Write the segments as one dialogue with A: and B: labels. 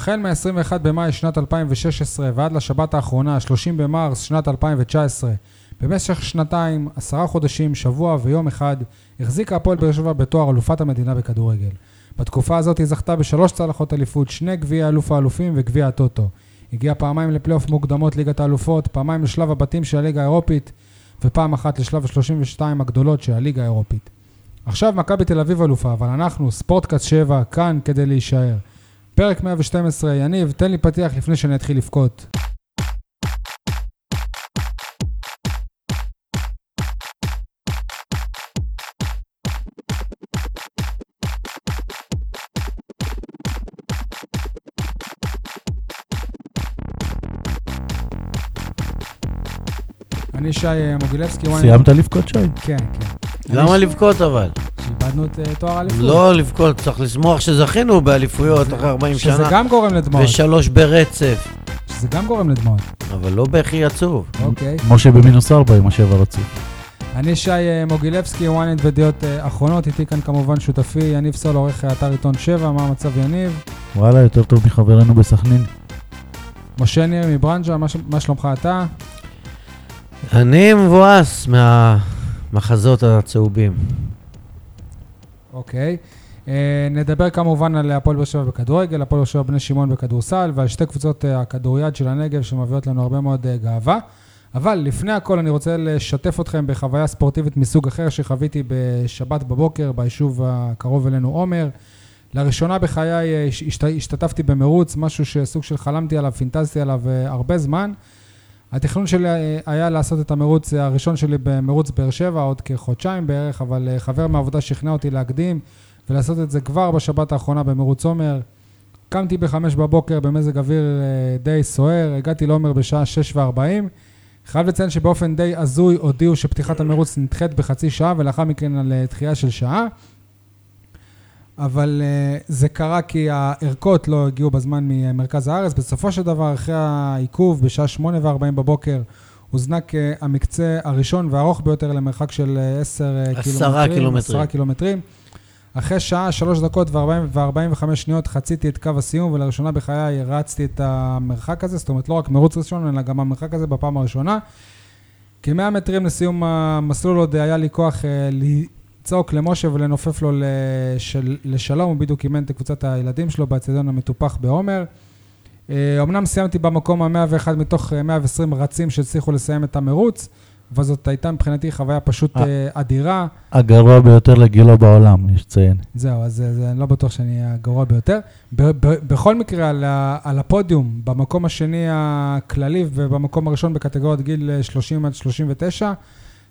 A: החל מ-21 במאי שנת 2016 ועד לשבת האחרונה, 30 במרס שנת 2019, במשך שנתיים, עשרה חודשים, שבוע ויום אחד, החזיקה הפועל באר שבע בתואר אלופת המדינה בכדורגל. בתקופה הזאת היא זכתה בשלוש צלחות אליפות, שני גביע אלוף האלופים וגביע הטוטו. הגיעה פעמיים לפלייאוף מוקדמות ליגת האלופות, פעמיים לשלב הבתים של הליגה האירופית, ופעם אחת לשלב ה-32 הגדולות של הליגה האירופית. עכשיו מכבי תל אביב אלופה, אבל אנחנו, ספורטקאסט 7, כאן כדי להישאר. פרק 112, יניב, תן לי פתיח לפני שאני אתחיל לבכות. אני שי אה, מוגילבסקי, וואי,
B: סיימת לבכות שי?
A: כן, כן.
C: למה
A: אני-
C: לבכות אבל?
A: שאיבדנו את אה, תואר האליפות.
C: לא לבכות, צריך לשמוח שזכינו באליפויות
A: זה-
C: אחרי 40
A: שזה
C: שנה,
A: גם גורם לדמעות.
C: ושלוש ברצף,
A: שזה גם גורם לדמעות,
C: אבל לא בכי עצוב.
A: אוקיי.
B: משה במינוס ארבע עם השבע רצוף.
A: אני שי אה, מוגילבסקי, ynet ודעות אה, אחרונות, איתי כאן כמובן שותפי יניב סול, עורך האתר עיתון 7, מה המצב יניב?
B: וואלה, יותר טוב מחברנו בסכנין.
A: משה ניר מברנז'ה, מה ש- מה שלומך אתה?
C: אני מבואס מהמחזות הצהובים.
A: אוקיי. אה, נדבר כמובן על הפועל באר שבע בכדורגל, הפועל באר שבע בני שמעון בכדורסל, ועל שתי קבוצות אה, הכדוריד של הנגב שמביאות לנו הרבה מאוד אה, גאווה. אבל לפני הכל אני רוצה לשתף אתכם בחוויה ספורטיבית מסוג אחר שחוויתי בשבת בבוקר ביישוב הקרוב אלינו עומר. לראשונה בחיי אה, הש- השת- השתתפתי במרוץ, משהו שסוג של חלמתי עליו, פינטזתי עליו אה, הרבה זמן. התכנון שלי אה, היה לעשות את המרוץ אה, הראשון שלי במרוץ באר שבע עוד כחודשיים בערך, אבל אה, חבר מהעבודה שכנע אותי להקדים ולעשות את זה כבר בשבת האחרונה במרוץ עומר. קמתי בחמש בבוקר במזג אוויר אה, די סוער, הגעתי לעומר בשעה שש וארבעים. חייב לציין שבאופן די הזוי הודיעו שפתיחת המרוץ נדחית בחצי שעה ולאחר מכן על אה, דחייה של שעה. אבל אה, זה קרה כי הערכות לא הגיעו בזמן ממרכז הארץ. בסופו של דבר, אחרי העיכוב, בשעה 8:40 בבוקר, הוזנק אה, המקצה הראשון והארוך ביותר למרחק של 10
C: עשרה
A: קילומטרים.
C: קילומטרים.
A: 10 קילומטרים. אחרי שעה, 3 דקות ו-45 שניות, חציתי את קו הסיום, ולראשונה בחיי רצתי את המרחק הזה. זאת אומרת, לא רק מרוץ ראשון, אלא גם המרחק הזה בפעם הראשונה. כ-100 מטרים לסיום המסלול עוד היה לי כוח אה, לצעוק למשה ולנופף לו לשל, לשלום, הוא בדיוק אימן את קבוצת הילדים שלו באצטדיון המטופח בעומר. אה, אמנם סיימתי במקום ה-101 מתוך אה, 120 רצים שהצליחו לסיים את המרוץ, אבל זאת הייתה מבחינתי חוויה פשוט
B: אה.
A: אה, אדירה.
B: הגרוע ביותר לגילו בעולם, יש לציין.
A: זהו, אז אה, זה, אני לא בטוח שאני הגרוע ביותר. ב, ב, בכל מקרה, על, ה, על הפודיום, במקום השני הכללי ובמקום הראשון בקטגוריית גיל אה, 30 עד 39,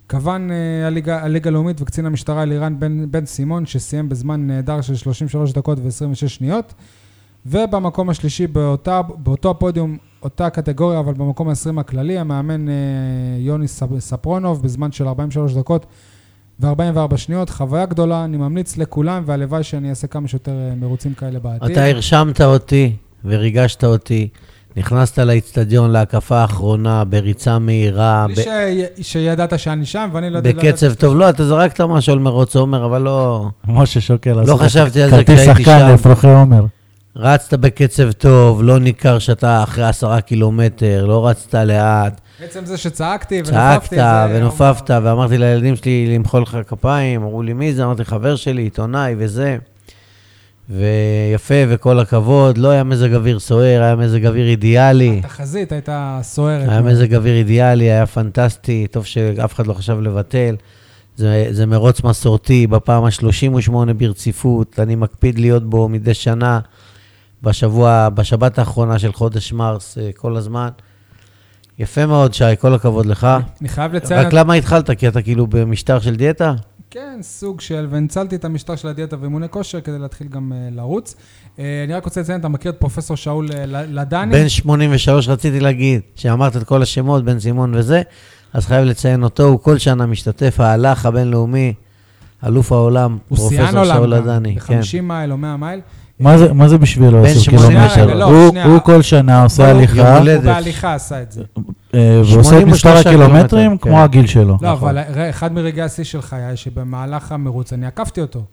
A: כוון אה, הליגה, הליגה הלאומית וקצין המשטרה אלירן בן, בן סימון, שסיים בזמן נהדר של 33 דקות ו-26 שניות. ובמקום השלישי באותה, באותו הפודיום, אותה קטגוריה, אבל במקום ה-20 הכללי, המאמן אה, יוני ספ- ספרונוב בזמן של 43 דקות ו-44 שניות. חוויה גדולה, אני ממליץ לכולם, והלוואי שאני אעשה כמה שיותר אה, מרוצים כאלה בעתיד.
C: אתה הרשמת אותי וריגשת אותי, נכנסת לאיצטדיון להקפה האחרונה בריצה מהירה,
A: בלי
C: ב-
A: ש... שידעת שאני שם, ואני לא יודע...
C: בקצב טוב. לא, אתה זרקת משהו על מרוץ עומר, אבל לא...
B: משה שוקל
C: לא
B: עשה
C: חשבתי על זה
B: כרטיס
C: כשהייתי
B: שחקן
C: שם.
B: לאפרוחי עומר.
C: רצת בקצב טוב, לא ניכר שאתה אחרי עשרה קילומטר, לא רצת לאט.
A: עצם זה שצעקתי ונופפתי,
C: צעקת
A: זה-
C: ונופפת, ואמרתי לילדים שלי למחוא לך כפיים, אמרו לי, מי זה? אמרתי, חבר שלי, עיתונאי וזה. ויפה, וכל הכבוד, לא היה מזג אוויר סוער, היה מזג אוויר אידיאלי.
A: התחזית הייתה סוערת.
C: היה מזג אוויר אידיאלי, היה פנטסטי, טוב שאף אחד לא חשב לבטל. זה, זה מרוץ מסורתי, בפעם ה-38 ברציפות, אני מקפיד להיות בו מדי שנה, בשבוע, בשבת האחרונה של חודש מרס, אה, כל הזמן. יפה מאוד, שי, כל הכבוד לך.
A: אני חייב לציין...
C: רק למה התחלת? כי אתה כאילו במשטר של דיאטה?
A: כן, סוג של, והנצלתי את המשטר של הדיאטה ואימוני כושר כדי להתחיל גם אה, לרוץ. אה, אני רק רוצה לציין, אתה מכיר את פרופסור שאול אה, ל- לדני?
C: בן 83 רציתי להגיד, שאמרת את כל השמות, בן סימון וזה, אז חייב לציין אותו, הוא כל שנה משתתף, ההלך הבינלאומי, אלוף העולם,
A: הוא
C: פרופסור
A: שיאן עולם
C: שאול
A: גם,
C: עדני. כן.
A: ב-50 מייל או 100 מייל.
B: מה זה- מה זה בשבילו
C: בן
B: 10
C: שמונים-
A: שנייה, רגע,
B: קילומטר?
A: לא,
B: הוא-
A: שנייה.
B: הוא כל שנה עושה
A: לא, לא,
C: יום
B: הליכה,
C: הולדת.
A: הוא
C: לדף.
A: בהליכה עשה את זה.
B: אה, ועושה את מספר
C: 83
B: הקילומטרים
C: קילומטר,
B: כמו
C: כן.
B: הגיל שלו.
A: לא,
C: נכון.
A: אבל ראה, אחד מרגעי השיא של חיי, שבמהלך המרוץ אני עקפתי אותו. כי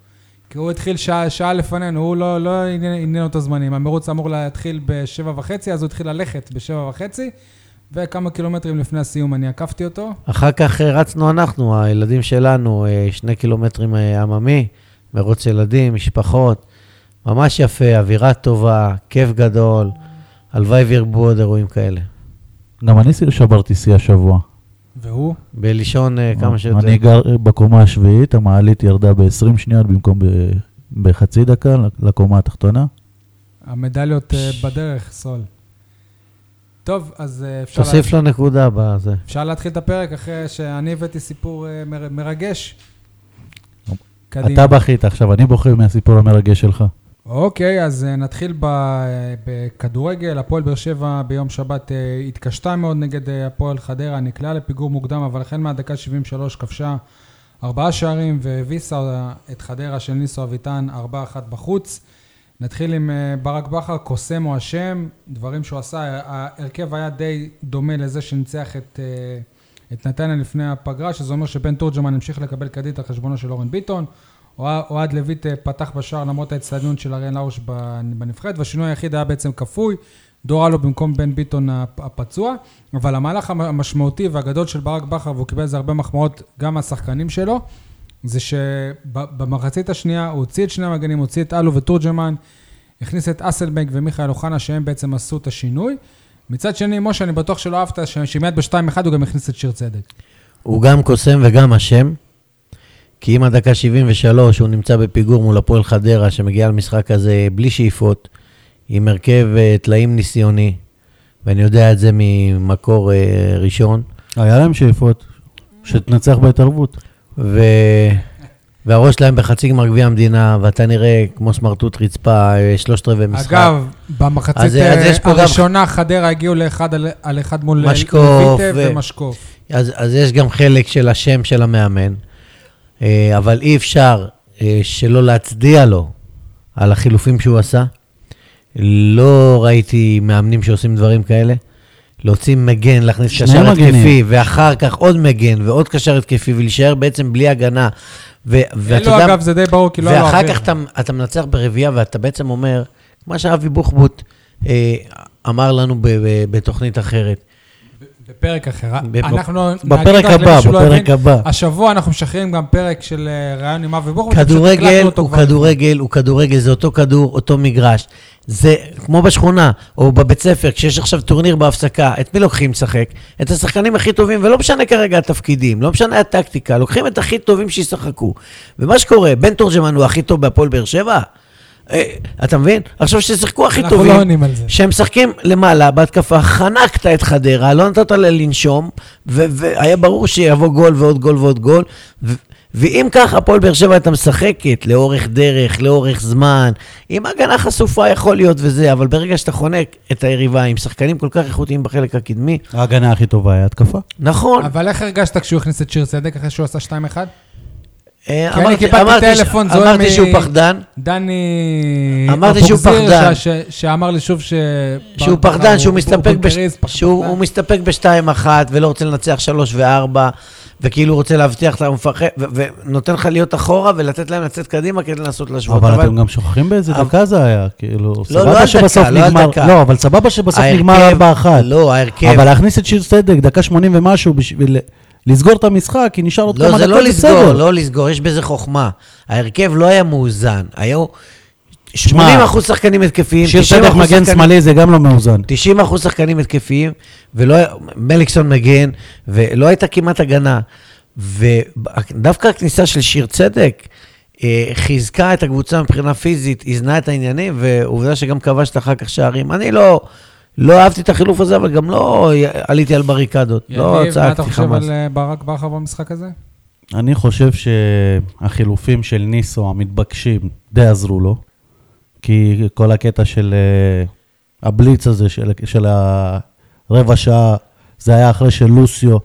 A: כי הוא התחיל שעה, שעה לפנינו, הוא לא, לא עניין, עניין אותו זמנים. המרוץ אמור להתחיל בשבע וחצי, אז הוא התחיל ללכת בשבע וחצי, וכמה קילומטרים לפני הסיום אני עקפתי אותו.
C: אחר כך אה, רצנו אנחנו, הילדים שלנו, אה, שני קילומטרים אה, עממי, מרוץ ילדים, משפחות, ממש יפה, אווירה טובה, כיף גדול. הלוואי וירבו עוד אירועים כאלה.
B: גם אני שברתי שיא השבוע.
A: והוא?
C: בלישון אה, כמה שיותר.
B: אני גר בקומה השביעית, המעלית ירדה ב-20 שניות במקום ב- בחצי דקה לקומה התחתונה.
A: המדליות אה, בדרך, סול. טוב, אז אה, אפשר, לה...
C: תוסיף לו נקודה בזה.
A: אפשר להתחיל את הפרק אחרי שאני הבאתי סיפור אה, מר... מרגש. קדימה.
B: אתה בכית, עכשיו אני בוחר מהסיפור המרגש שלך.
A: אוקיי, אז אה, נתחיל ב- אה, בכדורגל. הפועל באר שבע ביום שבת אה, התקשתה מאוד נגד אה, הפועל חדרה, נקלעה לפיגור מוקדם, אבל החל מהדקה 73 כבשה ארבעה שערים והביסה אה, את חדרה של ניסו אביטן 4-1 בחוץ. נתחיל עם אה, ברק בכר, קוסם או אשם, דברים שהוא עשה. אה, ההרכב היה די דומה לזה שניצח את, אה, את נתניה לפני הפגרה, שזה אומר שבן תורג'מן המשיך לקבל קרדיט על חשבונו של אורן ביטון. אוה- אוהד לויט אה, פתח בשער למרות ההצטדיון של אריאן לאוש בנבחרת, והשינוי היחיד היה בעצם כפוי, דורלו במקום בן ביטון הפ- הפצוע, אבל המהלך המ- המשמעותי והגדול של ברק בכר, והוא קיבל על זה הרבה מחמאות גם מהשחקנים שלו, זה שבמחצית השנייה הוא הוציא את שני המגנים, הוציא את אלו ותורג'מן, הכניס את אסלבנק ומיכאל אוחנה, שהם בעצם עשו את השינוי. מצד שני, משה, אני בטוח שלא אהבת, ש- שמיד ב-2-1 הוא גם הכניס את שיר צדק.
C: הוא גם קוסם וגם אשם, כי אם הדקה 73 הוא נמצא בפיגור מול הפועל חדרה, שמגיע למשחק הזה בלי שאיפות, עם הרכב אה, טלאים ניסיוני, ואני יודע את זה ממקור אה, ראשון,
B: היה להם שאיפות, שתנצח בהתערבות.
C: ו... והראש שלהם בחצי גמר גביע המדינה, ואתה נראה כמו סמרטוט רצפה, אה, שלושת רבעי משחק.
A: אגב, במחצית
C: אז- אז
A: אה,
C: יש פה גם-
A: הראשונה חדרה הגיעו לאחד על- על אחד מול אה,
C: משקוף,
A: לויטה
C: ו-
A: ומשקוף.
C: אז, אז יש גם חלק של השם של המאמן, אה, אבל אי אפשר אה, שלא להצדיע לו על החילופים שהוא עשה. לא ראיתי מאמנים שעושים דברים כאלה. להוציא מגן, להכניס
B: שני
C: קשר
B: מגנים.
C: התקפי, ואחר כך עוד מגן ועוד קשר התקפי, ולהישאר בעצם בלי הגנה. ו- ואתה
A: אלו,
C: יודע...
A: לא, אגב, זה די ברור, כי לא היה לו
C: ואחר
A: אוויר.
C: כך אתה, אתה מנצח ברביעייה ואתה בעצם אומר, מה שאבי בוחבוט אה, אמר לנו ב- ב- בתוכנית אחרת.
A: בפרק אחר. אה?
C: בפ-
A: אנחנו נגיד
B: בפרק
A: רק למי
B: הבא,
A: שלא
B: בפרק
A: הבין,
B: הבא.
A: השבוע אנחנו משחררים גם פרק של אה, ראיון עם אבי בוחבוט.
C: כדורגל הוא כדורגל, הוא כדורגל, זה אותו כדור, אותו מגרש. זה כמו בשכונה, או בבית ספר, כשיש עכשיו טורניר בהפסקה, את מי לוקחים לשחק? את השחקנים הכי טובים, ולא משנה כרגע התפקידים, לא משנה הטקטיקה, לוקחים את הכי טובים שישחקו. ומה שקורה, בן תורג'מן הוא הכי טוב בהפועל באר שבע? אה, אתה מבין? עכשיו ששיחקו הכי
A: אנחנו
C: טובים.
A: לא עונים על זה.
C: שהם משחקים למעלה בהתקפה, חנקת את חדרה, לא נתת לה לנשום, ו- והיה ברור שיבוא גול ועוד גול ועוד גול. ו- ואם כך, הפועל באר שבע הייתה משחקת לאורך דרך, לאורך זמן, עם הגנה חשופה יכול להיות וזה, אבל ברגע שאתה חונק את היריבה עם שחקנים כל כך איכותיים בחלק הקדמי,
B: ההגנה הכי טובה היה התקפה.
C: נכון.
A: אבל איך הרגשת כשהוא הכניס את שיר צדק אחרי שהוא עשה 2-1?
C: אה,
A: כי אני
C: אמרתי-
A: קיבלתי
C: אמרתי ש-
A: טלפון זוהה
C: אמרתי
A: מ-
C: שהוא פחדן,
A: דני...
C: אמרתי שהוא
A: אבוחזיר,
C: פחדן.
A: ש- ש- שאמר לי שוב ש...
C: שהוא
A: ברק בכר
C: פחדן, שהוא
A: הוא-
C: מסתפק
A: הוא
C: בש-
A: בונקריסט,
C: שהוא
A: פחדן.
C: הוא מסתפק בשתיים אחת, ולא רוצה לנצח שלוש וארבע, וכאילו רוצה להבטיח, אתה מפחד, ו- ונותן לך להיות אחורה ולתת להם לצאת קדימה כדי לנסות להשוות.
B: אבל אתם גם שוכחים באיזה
C: אבל-
B: דקה זה היה, כאילו,
C: לא
B: סבבה
C: על
B: שבסוף
C: דקה, לא על
B: נגמר,
C: דקה.
B: לא, אבל סבבה שבסוף
C: ההרכב-
B: נגמר 4-1.
C: לא, ההרכב.
B: אבל להכניס את שיר צדק, דקה 80 ומשהו, בשביל לסגור את המשחק, כי נשאר עוד כמה
C: לא,
B: דקות
C: זה לא לסגור,
B: בסדר.
C: לא לסגור, יש בזה חוכמה. ההרכב לא היה מאוזן, היו 80% שחקנים התקפיים,
B: שיר
C: 90%
B: צדק מגן
C: שחקנים-
B: שמאלי זה גם לא מאוזן.
C: 90 אחוז שחקנים התקפיים, ולא, מליקסון מגן, ולא הייתה כמעט הגנה. ודווקא הכניסה של שיר צדק אה, חיזקה את הקבוצה מבחינה פיזית, איזנה את העניינים, ועובדה שגם כבשת אחר כך שערים. אני לא, לא אהבתי את החילוף הזה, אבל גם לא עליתי על בריקדות. לא
A: יניב, מה אתה
C: צעקתי
A: חושב
C: חמאס.
A: על אה, ברק בכר במשחק הזה?
B: אני חושב שהחילופים של ניסו המתבקשים די עזרו לו, כי כל הקטע של אה, הבליץ הזה, של, של הרבע שעה, זה היה אחרי שלוסיו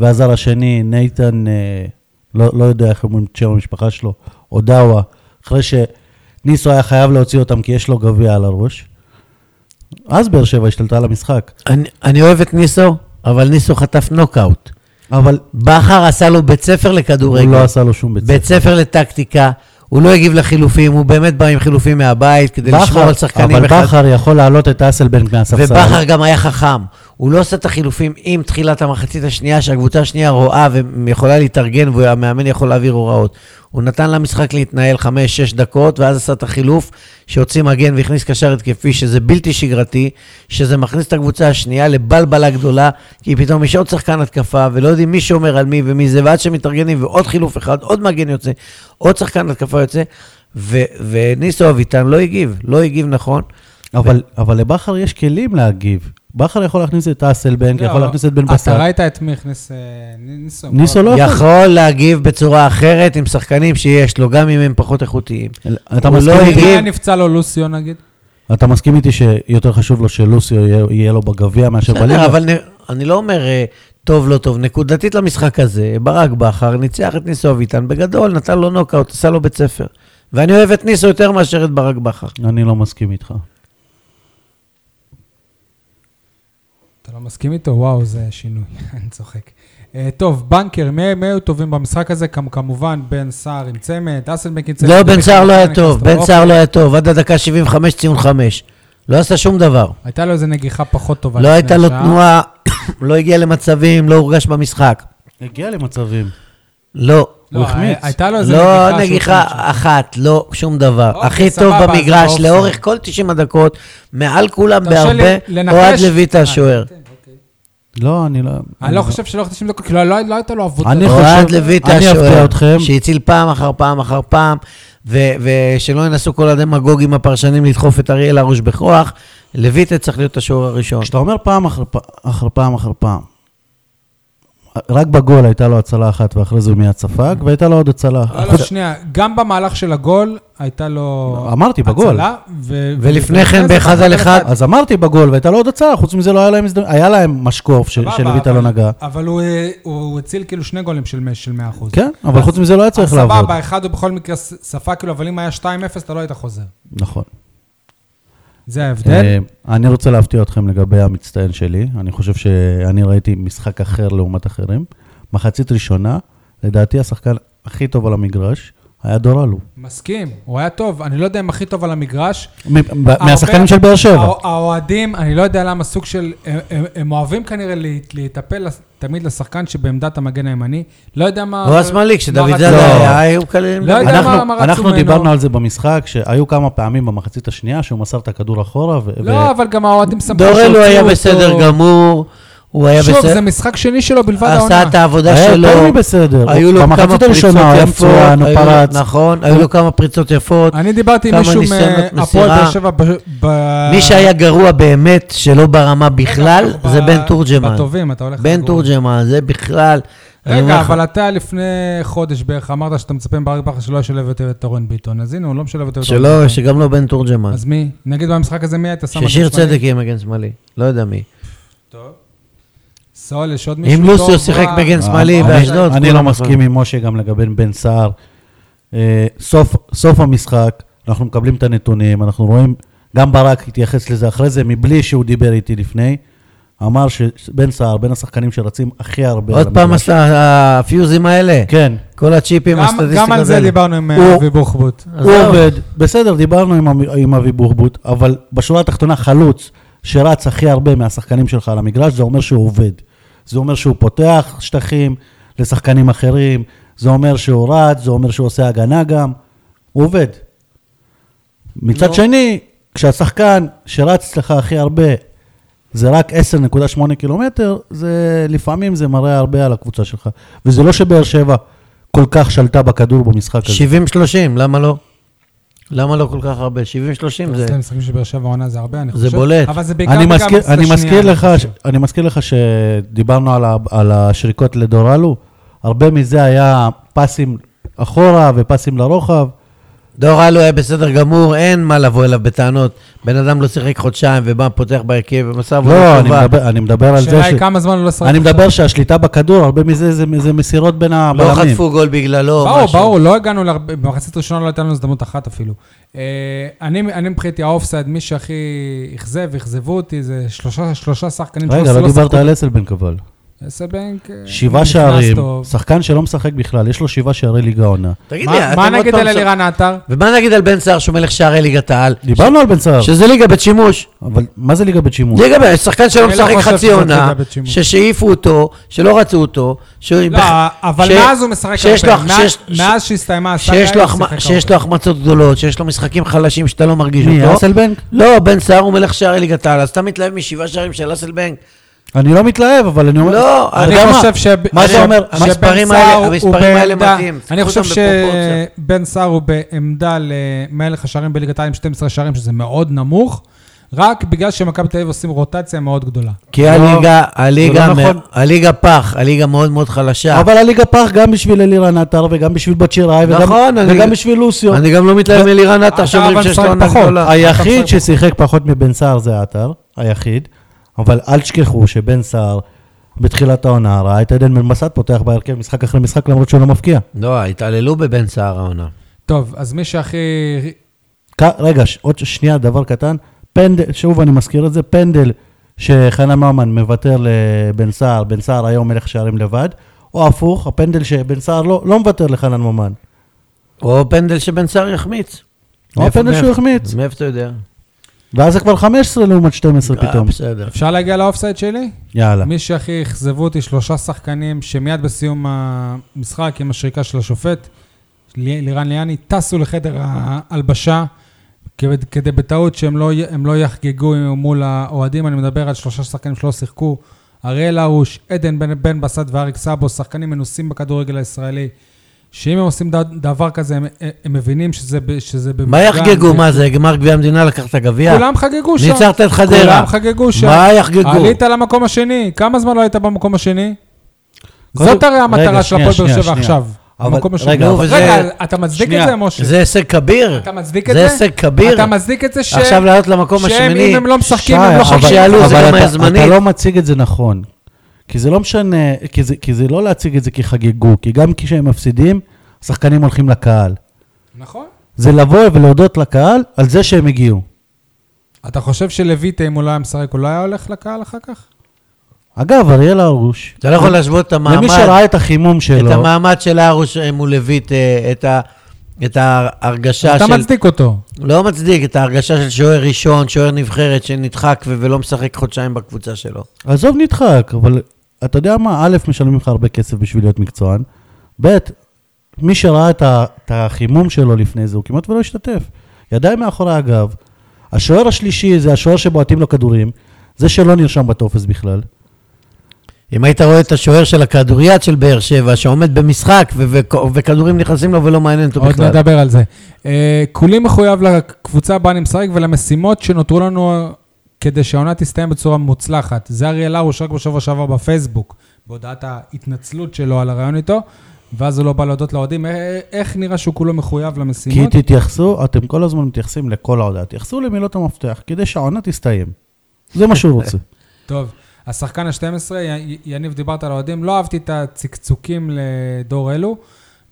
B: והזר השני, נייתן, אה, לא, לא יודע איך אומרים את שם המשפחה שלו, אודאווה, אחרי שניסו היה חייב להוציא אותם כי יש לו גביע על הראש. אז באר שבע השתלטה על המשחק,
C: אני, אני אוהב את ניסו, אבל ניסו חטף נוקאוט.
B: אבל
C: בכר עשה לו בית ספר
B: הוא
C: לכדורגל.
B: לא עשה לו שום בית ספר.
C: בית ספר לטקטיקה, הוא לא הגיב לחילופים, הוא באמת בא עם חילופים מהבית כדי לשמור
B: בכר-
C: על שחקנים.
B: אבל
C: אחד-
B: בכר יכול להעלות את אסלבנק מהספסל.
C: ובכר גם היה חכם. הוא לא עושה את החילופים עם תחילת המחצית השנייה, שהקבוצה השנייה רואה ויכולה להתארגן והמאמן יכול להעביר הוראות. הוא נתן למשחק להתנהל 5-6 דקות, ואז עשה את החילוף שהוציא מגן והכניס קשר התקפי, שזה בלתי שגרתי, שזה מכניס את הקבוצה השנייה לבלבלה גדולה, כי פתאום יש עוד שחקן התקפה, ולא יודעים מי שומר על מי ומי זה, ועד שמתארגנים ועוד חילוף אחד, עוד מגן יוצא, עוד שחקן התקפה יוצא, ו- וניסו אביטן לא הגיב, לא הגיב נכון.
B: אבל, אבל לבכר יש כלים להגיב. בכר יכול להכניס את אסלבנק, כן, יכול להכניס את בן בסט.
A: לא, אה, אתה ראית את מי הכניס... אה, ניסו.
B: ניסו לא יכול.
C: יכול להגיב בצורה אחרת עם שחקנים שיש לו, גם אם הם פחות איכותיים.
B: אתה
C: הוא
B: מסכים,
C: לא
B: איתי,
A: אם היה
C: הגיב.
A: נפצע לו לוסיו נגיד?
B: אתה מסכים איתי שיותר חשוב לו שלוסיו יהיה, יהיה לו בגביע מאשר בליגה?
C: בסדר, אבל נ- אני לא אומר אה, טוב, לא טוב. נקודתית למשחק הזה, ברק בכר ניצח את ניסו אביטן בגדול, נתן לו נוקאוט, עשה לו בית ספר. ואני אוהב את ניסו יותר מאשר את ברק בכר.
B: אני לא מסכים איתך.
A: אתה לא מסכים איתו? וואו, זה שינוי. אני צוחק. אה, טוב, בנקר, מי מי היו טובים במשחק הזה? כמ- כמובן, בן סער עם צמד, אסלבנק עם צמד.
C: לא, בן
A: דרך
C: סער לא היה
A: נכנס
C: טוב, בן
A: לרוחב.
C: סער לא היה טוב, עד הדקה 75 ציון 5. לא עשה שום דבר.
A: הייתה לו איזו נגיחה פחות טובה.
C: לא
A: לפני
C: הייתה לו
A: השעה.
C: תנועה, לא הגיע למצבים, לא הורגש במשחק.
B: הגיע למצבים.
C: לא.
A: לא,
B: הוא החמיץ.
A: הייתה לו איזו נגיחה.
C: לא
A: שהוא
C: נגיחה
A: חמיץ.
C: אחת, לא שום דבר.
A: אוקיי,
C: הכי טוב
A: סבבה, אז
C: במגרש,
A: באופסייד.
C: לאורך כל 90 הדקות, מעל כולם
A: תרשה לי
C: בהרבה,
A: לנחש.
C: אוהד לויטה
A: אה,
C: השוער.
B: לא, אני לא...
A: אני לא חושב שלא 90 דקות, כי לא לא- לא הייתה לו עבודה.
B: אני חושב-
C: אוהד לויטה
B: אני אפתיע
C: השוער,
B: אתכם.
C: שהציל פעם אחר פעם אחר פעם, ו- ושלא ינסו כל הדמגוגים הפרשנים לדחוף את אריאל הרוש בכוח, לויטה צריך להיות השוער הראשון.
B: כשאתה אומר פעם אחר, פ- אחר פעם אחר פעם, רק בגול הייתה לו הצלה אחת ואחרי זה הוא מיד ספג, והייתה לו עוד הצלה.
A: לא, לא, שנייה, גם במהלך של הגול הייתה לו...
B: אמרתי, בגול.
A: הצלה, ו-
C: ולפני
A: ולפני
C: כן
A: זה,
C: באחד על אחד,
B: אז אמרתי בגול, והייתה לו עוד הצלה, חוץ מזה לא היה להם הזדמנות, היה להם משקוף ש-
A: סבבה,
B: שלויטה לא
A: אבל-
B: נגע.
A: אבל הוא, אה, הוא הוא הציל כאילו שני גולים של מאה- של 100%.
B: כן, אבל חוץ מזה לא היה צריך
A: אז
B: לעבוד.
A: סבבה, אחד הוא בכל מקרה ס- ספג, כאילו, אבל אם היה 2-0, אתה לא היית חוזר.
B: נכון.
A: זה ההבדל.
B: אה, אני רוצה להפתיע אתכם לגבי המצטיין שלי. אני חושב שאני ראיתי משחק אחר לעומת אחרים. מחצית ראשונה, לדעתי השחקן הכי טוב על המגרש היה דורלו.
A: מסכים, הוא היה טוב. אני לא יודע אם הכי טוב על המגרש.
B: מ- ב-
A: הרבה-
B: מהשחקנים של באר שבע.
A: הא- האוהדים, אני לא יודע למה סוג של... הם- הם- הם אוהבים כנראה להת- להיטפל לס- תמיד לשחקן שבעמדת המגן הימני. לא יודע מה...
C: הוא השמאלי, כשדוד
A: מה
C: זאדה
A: רצו-
B: לא.
C: היה, היו כאלה...
A: לא יודע מה-
B: אנחנו,
A: מה רצו
B: אנחנו
A: ממנו.
B: דיברנו על זה במשחק, שהיו כמה פעמים במחצית השנייה שהוא מסר את הכדור אחורה. ו-
A: לא, אבל גם האוהדים שמחו
C: דורל הוא היה
A: שהוציאו
C: בסדר
A: אותו.
C: גמור, הוא היה
A: שוב,
C: בסדר,
A: זה משחק שני שלו בלבד העונה.
C: עשה את העבודה
B: היה
C: שלו.
B: יותר מבסדר.
C: היו לו כמה
B: במחצית
C: פריצות
B: הראשונה הוא היה
C: יפות,
B: מצוין, הוא
C: היו-
B: פרץ.
C: נכון, היו לו כמה פריצות יפות.
A: אני דיברתי עם
C: כמה
A: מישהו
C: ניסיונות
A: מהפועל
C: מסירה.
A: באר שבע ב... ב-
C: מי שהיה גרוע באמת, שלא ברמה בכלל,
A: ב-
C: זה בן תורג'מן.
A: בטובים, אתה הולך...
C: בן
A: לגור.
C: תורג'מן, זה בכלל... אני אומר
A: רגע,
C: לך,
A: אבל אתה לפני חודש בערך אמרת שאתה מצפה מברק בכר שלא ישלב יותר את אורן ביטון, אז הנה, הוא לא משלב יותר את אורן
C: שלא,
A: ביטון.
C: שגם לא בן תורג'מן.
A: אז מי? נגיד במשחק הזה מי היית שם? מגן
C: ששיר
A: שמאלי?
C: צדק יהיה מגן שמאלי, לא יודע מי.
A: טוב. סול, יש עוד מישהו אה,
C: אם
A: טוב?
C: לוסיו שיחק
A: רע?
C: מגן שמאלי
B: אני-
C: באשדוד...
B: אני לא
C: כולם-
B: מסכים עם משה גם לגבי בן סער. אה, סוף- סוף המשחק, אנחנו מקבלים את הנתונים, אנחנו רואים, גם ברק התייחס לזה אחרי זה, מבלי שהוא דיבר איתי לפני, אמר שבן סער, בין השחקנים שרצים הכי הרבה. על
C: עוד פעם
B: המגרש.
C: עשה הפיוזים האלה,
B: כן.
C: כל הצ'יפים,
A: גם-
C: הסטטיסטיקות
A: גם על זה
C: האלה.
A: דיברנו עם אה,
B: הוא-
A: אבי בוחבוט.
C: אז
B: הוא
C: זהו.
B: עובד, בסדר, דיברנו עם המ- עם אבי בוחבוט, אבל בשורה התחתונה חלוץ שרץ הכי הרבה מהשחקנים שלך על המגרש, זה אומר שהוא עובד. זה אומר שהוא פותח שטחים לשחקנים אחרים, זה אומר שהוא רץ, זה אומר שהוא עושה הגנה גם, הוא עובד. מצד
C: לא.
B: שני, כשהשחקן שרץ לך הכי הרבה זה רק 10.8 קילומטר, זה לפעמים זה מראה הרבה על הקבוצה שלך. וזה לא שבאר שבע כל כך שלטה בכדור במשחק הזה.
C: 70-30, למה לא? למה לא כל כך הרבה? 70-30 זה...
A: זה משחקים של באר שבע עונה זה הרבה, אני
C: זה
A: חושב.
C: בולט.
A: אבל זה בעיקר
B: אני
A: בגלל
B: מזכיר,
A: המחצית
B: אני
A: השנייה,
B: מזכיר
A: אני
B: לך, ש,
A: חושב.
B: אני מזכיר לך שדיברנו על, ה, על השריקות לדורלו, הרבה מזה היה פסים אחורה ופסים לרוחב.
C: דור אלו היה בסדר גמור, אין מה לבוא אליו בטענות. בן אדם לא שיחק חודשיים ובא, פותח בהרכב, ומסע
B: לא,
C: עבודה
B: אני
C: טובה.
B: מדבר, אני מדבר על זה
A: השאלה היא
B: ש...
A: כמה זמן הוא לא שחק.
B: אני מדבר שהשליטה בכדור, הרבה מזה זה, זה מסירות בין
C: לא
B: הבלמים.
C: חטפו גול בגללו,
A: ברור,
C: משהו.
A: ברור, לא הגענו להרבה, במחצית ראשונה לא הייתה לנו הזדמנות אחת אפילו. אה, אני אני מבחינתי האופסייד, מי שהכי אכזב, אכזבו אותי, זה שלושה- שלושה שחקנים
B: רגע,
A: שלא-
B: לא
A: שלא
B: דיברת
A: שיחקו.
B: על אסלבנק אבל.
A: סבנק... אה,
B: שבעה
A: נכנס
B: שערים,
A: טוב.
B: שחקן שלא משחק בכלל, יש לו שבעה שערי ליגה עונה.
C: תגיד לי,
A: מה
C: אתם
A: מה
C: עוד
A: נגיד
C: פעם
A: על
C: שם-
A: אלירן עטר?
C: ומה נגיד על בן סער שהוא מלך שערי ליגת העל?
B: דיברנו על בן סער,
C: שזה ליגה בית שימוש.
B: אבל מה זה ליגה בית שימוש?
C: ליגה בית, שחקן שלא
A: אני לא
C: משחק
A: חושב
C: חצי
A: שזאת
C: עונה,
A: ליגה בית שימוש.
C: ששעיפו אותו, שלא רצו אותו, שהוא...
A: לא, אבל מאז הוא משחק
C: שיש לו-
A: הרבה. מאז-
C: שיש-
A: מאז שהסתיימה הסאגה,
C: שיש לו
A: הוא
C: החמ-
A: שיחק
C: שיש
A: הרבה.
C: לו החמצות גדולות, שיש לו משחקים חלשים שאתה לא מרגיש
B: מי,
C: אותו.
B: אסלבנק?
C: לא, בן סער הוא מלך שערי ליגת העל, אז אתה מתלהב משבעה שערים של אסלבנק?
B: אני לא מתלהב, אבל אני אומר...
C: לא,
B: אתה
A: אני
B: יודע מה?
A: חושב ש...
B: מה
A: ש-
B: זה אומר?
A: שבן
C: המספרים
A: סער
C: האלה-
A: הוא
C: המספרים האלה
A: בעמדה-
C: מתאים,
A: אני
C: קחו
A: חושב
C: אותם בפרופורציה.
A: שבן סער הוא בעמדה למלך השערים בליגת העל עם 12 שערים, שזה מאוד נמוך, רק בגלל שמכבי תל אביב עושים רוטציה מאוד גדולה.
C: כי
B: לא,
C: הליגה, הליגה,
B: לא
C: מ-
B: נכון.
C: הליגה פח, הליגה מאוד מאוד חלשה.
B: אבל הליגה פח גם בשביל אלירן עטר, וגם בשביל בת שיראי, וגם-
C: נכון, אני-
B: וגם בשביל לוסיו.
C: אני גם לא מתלהב מלירן עטר
A: אתה
C: שאומרים
A: אבל
C: שיש לו
A: משחק
C: עונה
A: פחות.
C: גדולה.
B: היחיד ששיחק פחות מבן סער זה עטר, היחיד, אבל אל תשכחו שבן סער בתחילת העונה ראה את עדן בן בסט פותח בהרכב משחק אחרי משחק למרות שהוא לא מפקיע.
C: לא, התעללו בבן סער העונה.
A: טוב, אז מי שהכי...
B: ק- רגע, ש- עוד שנייה דבר קטן, פנדל, שוב אני מזכיר את זה, פנדל שחנה ממן מוותר לבן סער, בן סער היום מלך שערים לבד, או הפוך, הפנדל שבן סער לא, לא מוותר לחנן ממן.
C: או פנדל שבן סער יחמיץ.
B: או
C: מאיפה-
B: הפנדל שהוא
C: מאיפה-
B: החמיץ.
C: מאיפה אתה יודע?
B: ואז זה כבר 15 לעומת 12
C: אה,
B: פתאום.
C: בסדר.
A: אפשר להגיע לאופסייד שלי?
B: יאללה.
C: לא.
A: מי שהכי אכזבו אותי, שלושה שחקנים שמיד בסיום המשחק, עם השריקה של השופט, לי- לירן ליאני, טסו לחדר ההלבשה, כבד- כדי בטעות שהם לא, י- הם לא יחגגו מול האוהדים. אני מדבר על שלושה שחקנים שלא שיחקו, אריאל הרוש, עדן בן, בן בסט ואריק סאבו, שחקנים מנוסים בכדורגל הישראלי, שאם הם עושים ד- דבר כזה, הם, הם מבינים שזה, ב- שזה במפגן.
C: מה יחגגו? מה זה, גמר גביע המדינה לקח את הגביע?
A: כולם חגגו שם.
C: ניצחת את חדרה.
A: כולם חגגו שם.
C: מה יחגגו?
A: עלית למקום השני, כמה זמן לא היית במקום השני?
B: קודם-
A: זאת הרי המטרה
B: רגע,
A: של
B: שנייה,
A: הפועל באר
B: שנייה,
A: שבע
B: שנייה.
A: עכשיו.
B: אבל-
A: במקום השני.
B: רגע,
C: אבל
A: רגע,
C: זה-
A: אתה מצדיק את
B: שנייה.
A: זה, משה?
C: זה הישג כביר.
A: אתה מצדיק את
C: זה
A: זה?
C: הישג כביר.
A: אתה מצדיק את זה ש...
C: עכשיו לעלות למקום
A: שהם,
C: השמיני.
A: אם הם לא משחקים,
B: שי,
A: הם לא
C: עכשיו
A: חושבים.
C: שיעלו, זה גם
B: אתה-
C: היה זמנית.
B: אתה לא מציג את זה נכון. כי זה לא משנה, כי זה, כי זה לא להציג את זה כחגגו, כי גם כשהם מפסידים, השחקנים הולכים לקהל.
A: נכון.
B: זה לבוא ולהודות לקהל על זה שהם הגיעו.
A: אתה חושב שלויטה, אם הוא לא היה משחק, הוא לא היה הולך לקהל אחר כך?
B: אגב, אריאל הרוש,
C: אתה לא יכול להשוות את
B: למי
C: המעמד.
B: שראה את החימום
C: את
B: שלו,
C: המעמד של ארוש אה, מול לויט, אה, את ה- את ההרגשה של...
A: אתה מצדיק אותו.
C: לא מצדיק, את ההרגשה של שוער ראשון, שוער נבחרת שנדחק ו- ולא משחק חודשיים בקבוצה שלו.
B: עזוב נדחק, אבל אתה יודע מה, א', משלמים לך הרבה כסף בשביל להיות מקצוען, ב', מי שראה את ה- את החימום שלו לפני זה, הוא כמעט ולא השתתף. ידיים מאחורי הגב. השוער השלישי זה השוער שבועטים לו כדורים, זה שלא נרשם בטופס בכלל.
C: אם היית רואה את השוער של הכדוריד של באר שבע, שעומד במשחק ו- ו- וכדורים נכנסים לו ולא מעניין אותו
A: עוד
C: בכלל.
A: נדבר על זה. אה, כולי מחויב לקבוצה בה אני משחק ולמשימות שנותרו לנו כדי שהעונה תסתיים בצורה מוצלחת. זה אריאל הרוש רק בשבוע שעבר בפייסבוק, בהודעת ההתנצלות שלו על הרעיון איתו, ואז הוא לא בא להודות לאוהדים. אה, איך נראה שהוא כולו מחויב
B: כי
A: למשימות?
B: תתייחסו, אתם כל הזמן מתייחסים לכל ההודעה, תתייחסו למילות המפתח, כדי שהעונה תסתיים. זה מה שהוא רוצה.
A: טוב, השחקן ה-12, י- יניב, דיברת על אוהדים, לא אהבתי את הצקצוקים לדור אלו.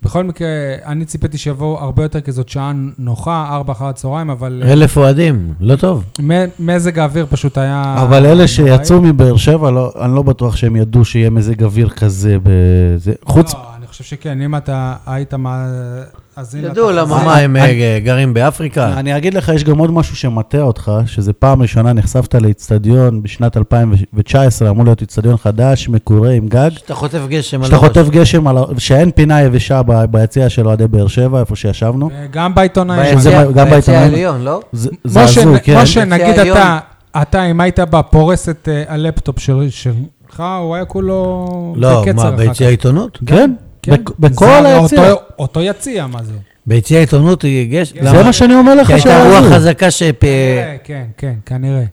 A: בכל מקרה, אני ציפיתי שיבואו הרבה יותר, כי זאת שעה נוחה, ארבע אחר הצהריים, אבל אה,
C: אלף אוהדים, לא טוב.
A: מ- מזג האוויר פשוט היה...
B: אבל אלה
A: נוראי.
B: שיצאו מבאר שבע, לא- אני לא בטוח שהם ידעו שיהיה מזג אוויר כזה, בזה. חוץ...
A: לא, אני חושב שכן, אם אתה היית מאזין...
C: ידעו
A: לתחזית-
C: למה, מה, הם אה, גרים באפריקה?
B: אני אגיד לך, יש גם עוד משהו שמטעה אותך, שזה פעם ראשונה נחשפת לאיצטדיון בשנת 2019, אמור להיות איצטדיון חדש, מקורה עם גג,
C: שאתה חוטף גשם
B: שאתה
C: הראש.
B: חוטף גשם, על ה- שאין פינה יבשה ב- ביציע של אוהדי באר שבע, איפה שישבנו.
A: אה, גם בעיתונאים.
B: שזה
C: ביציע-
B: גם בעיתונאים.
C: העליון, לא?
B: זה זה
A: משה,
B: הזוי, כן.
A: משה, נגיד
C: העליון.
A: אתה, אתה, אם היית בא, פורס את אה, הלפטופ של- שלך, הוא היה כולו
C: לא,
A: בקצר
C: מה,
A: אחר כך.
C: ביציע העיתונות?
B: כן,
A: כן.
B: בכ-
A: זה
B: בכל
A: הרי
B: היציע.
A: אותו- אותו יציע, מה זה?
C: ביציע העיתונות היא גשם.
B: זה מה שאני אוקיי. אומר לך
C: כי הייתה
B: שהיה
C: רוח
B: הזוי.
C: חזקה ש... אה,
A: כנראה, כן, כן, כנראה.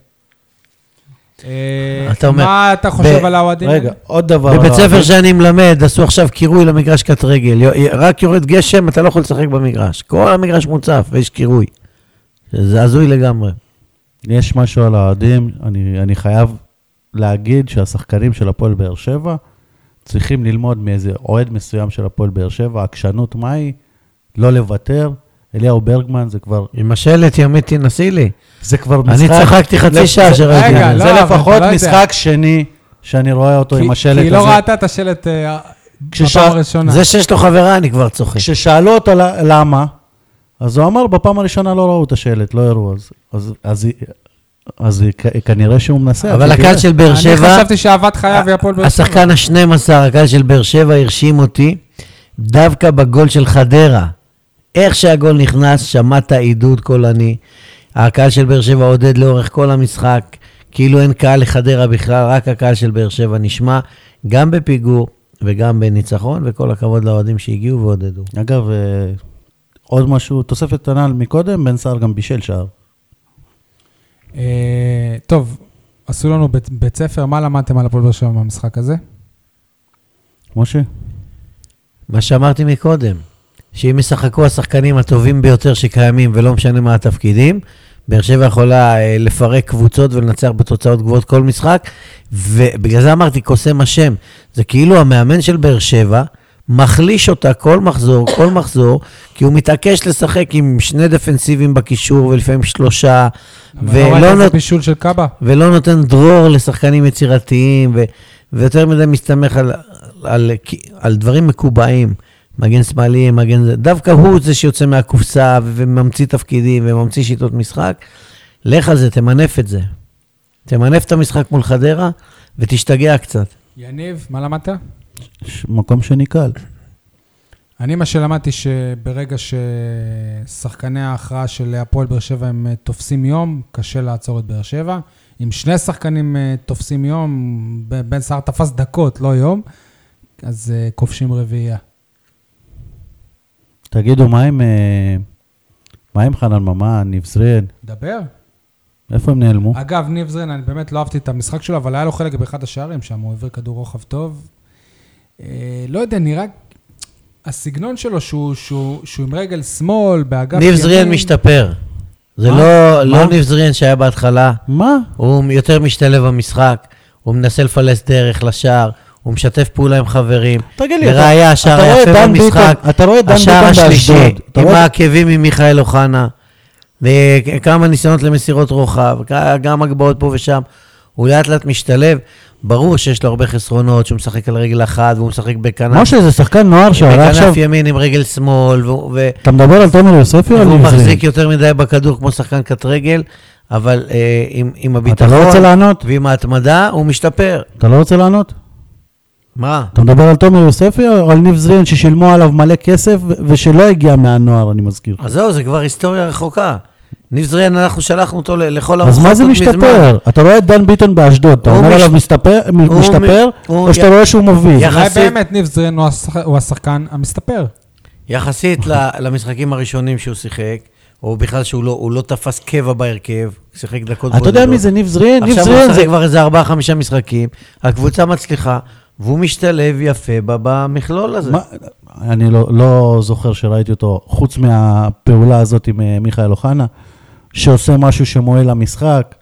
A: אה,
C: אתה אומר-
A: מה אתה חושב על האוהדים?
B: רגע, עוד דבר. על
C: בבית ספר
B: האוהדים.
C: שאני מלמד, עשו עכשיו קירוי למגרש קט רגל. יו- רק יורד גשם, אתה לא יכול לשחק במגרש. כל המגרש מוצף ויש קירוי. זה הזוי לגמרי.
B: יש משהו על האוהדים, אני, אני חייב להגיד שהשחקנים של הפועל באר שבע צריכים ללמוד מאיזה אוהד מסוים של הפועל באר שבע, עקשנות מהי, לא לוותר. אליהו ברגמן זה כבר,
C: עם השלט ימית תנסי לי.
B: זה כבר
C: אני
B: משחק,
C: צחקתי חצי שעה שראיתי
A: רגע,
C: את
A: לא,
C: זה.
B: זה
A: אבל אתה
B: לפחות
A: לא יודע.
B: משחק שני שאני רואה אותו עם השלט הזה. כן.
A: כי היא לא ראתה את השלט אה,
B: כשש-
A: בפעם הראשונה.
C: זה שיש לו חברה, אני כבר צוחק.
B: כששאלו אותו ל- למה, אז הוא אמר, בפעם הראשונה לא ראו את השלט, לא הראו, אז, אז, אז, היא- אז היא כ- כנראה שהוא מנסה.
C: אבל
B: אתה תראה.
C: הקהל של באר
A: אני
C: שבע,
A: חשבתי שאהבת חייו היא הפועל באר שבע.
C: השחקן ה-12, הקהל של באר שבע הרשים אותי, דווקא בגול של חדרה. איך שהגול נכנס, שמעת עידוד קולני. הקהל של באר שבע עודד לאורך כל המשחק, כאילו אין קהל לחדרה בכלל, רק הקהל של באר שבע נשמע, גם בפיגור וגם בניצחון, וכל הכבוד לאוהדים שהגיעו ועודדו.
B: אגב, אה, עוד משהו, תוספת קטנה מקודם, בן סער גם בישל שער.
A: אה, טוב, עשו לנו בית- בית ספר, מה למדתם על הפועל באר שבע מהמשחק הזה?
B: משה?
C: מה שאמרתי מקודם, שאם ישחקו השחקנים הטובים ביותר שקיימים ולא משנה מה התפקידים, באר שבע יכולה אה, לפרק קבוצות ולנצח בתוצאות גבוהות כל משחק, ובגלל זה אמרתי קוסם השם, זה כאילו המאמן של באר שבע מחליש אותה כל מחזור, כל מחזור, כי הוא מתעקש לשחק עם שני דפנסיבים בקישור ולפעמים שלושה,
A: אבל לא ראית
C: ולא
A: איזה
C: נות...
A: בישול של קאבה?
C: ולא נותן דרור לשחקנים יצירתיים, ו, ויותר מדי מסתמך על, על, על דברים מקובעים. מגן שמאלי, מגן זה, דווקא הוא זה שיוצא מהקופסה ו- וממציא תפקידים וממציא שיטות משחק. לך על זה, תמנף את זה. תמנף את המשחק מול חדרה ותשתגע קצת.
A: יניב, מה למדת?
B: ש- מקום שני קל.
A: אני, מה שלמדתי שברגע ששחקני ההכרעה של הפועל באר שבע הם אה, תופסים יום, קשה לעצור את באר שבע. אם שני שחקנים אה, תופסים יום, ב- בן סער תפס דקות, לא יום, אז אה, כובשים רביעייה.
B: תגידו, מה עם, אה, מה עם חנן ממן, ניב זרין?
A: דבר.
B: איפה הם נעלמו?
A: אגב, ניב זרין, אני באמת לא אהבתי את המשחק שלו, אבל היה לו חלק באחד השערים שם, הוא העביר כדור רוחב טוב. אה, לא יודע, נראה... הסגנון שלו שהוא, שהוא, שהוא עם רגל שמאל, באגף
C: ניב זריאן משתפר. זה לא,
B: מה?
C: לא ניב זריאן שהיה בהתחלה.
B: מה?
C: הוא יותר משתלב במשחק, הוא מנסה לפלס דרך לשער, הוא משתף פעולה עם חברים.
B: תגיד לי,
C: לראיה,
B: אתה-
C: השער
B: אתה רואה
C: היפה
B: את דן
C: במשחק,
B: ביטון- אתה רואה את דן
C: השער
B: ביטון
C: השלישי,
B: באשדוד. אתה
C: עם
B: רואה-
C: העקבים עם מיכאל אוחנה, וכמה ניסיונות למסירות רוחב, כ- גם הגבהות פה ושם. הוא לאט לאט משתלב, ברור שיש לו הרבה חסרונות, שהוא משחק על רגל אחת והוא משחק בכנף,
B: משה, זה שחקן נוער שעלה עכשיו.
C: בכנף ימין עם רגל שמאל, והוא- ו-
B: אתה מדבר על תומר יוספי או על
C: והוא
B: ניב זרין?
C: מחזיק יותר מדי בכדור כמו שחקן קט רגל, אבל אה, עם- עם
B: אתה לא רוצה
C: הביטחון
B: לענות?
C: ועם ההתמדה הוא משתפר.
B: אתה לא רוצה לענות?
C: מה?
B: אתה מדבר על תומר יוספי או על ניב זרין ששילמו עליו מלא כסף ו- ושלא הגיע מהנוער, אני מזכיר.
C: אז זהו, זה כבר היסטוריה רחוקה. ניב זריאן, אנחנו שלחנו אותו ל- לכל
B: אז מה זה
C: עוד לא, מזמן.
B: משתפר? אתה רואה את דן ביטון באשדוד, אתה
C: הוא
B: אומר
C: מש-
B: עליו מסתפר-
C: הוא
B: משתפר,
C: מ- הוא
B: או שאתה
C: י-
B: רואה שהוא מוביל?
C: יח-
A: אולי
C: יחסית-
A: באמת ניב זרין הוא השח- הוא השחקן המסתפר.
C: יחסית ל- למשחקים הראשונים שהוא שיחק, או בכלל שהוא לא, הוא לא תפס קבע בהרכב, שיחק דקות
B: אתה יודע מי זה ניב זרין? ניב
C: עכשיו הוא
B: זרין זה...
C: משחק כבר איזה ארבעה, חמישה משחקים, הקבוצה מצליחה, והוא משתלב יפה ב- במכלול הזה.
B: מה- אני לא- לא זוכר שראיתי אותו, חוץ מהפעולה הזאת עם אה, מיכאל אוחנה, שעושה משהו שמועל למשחק,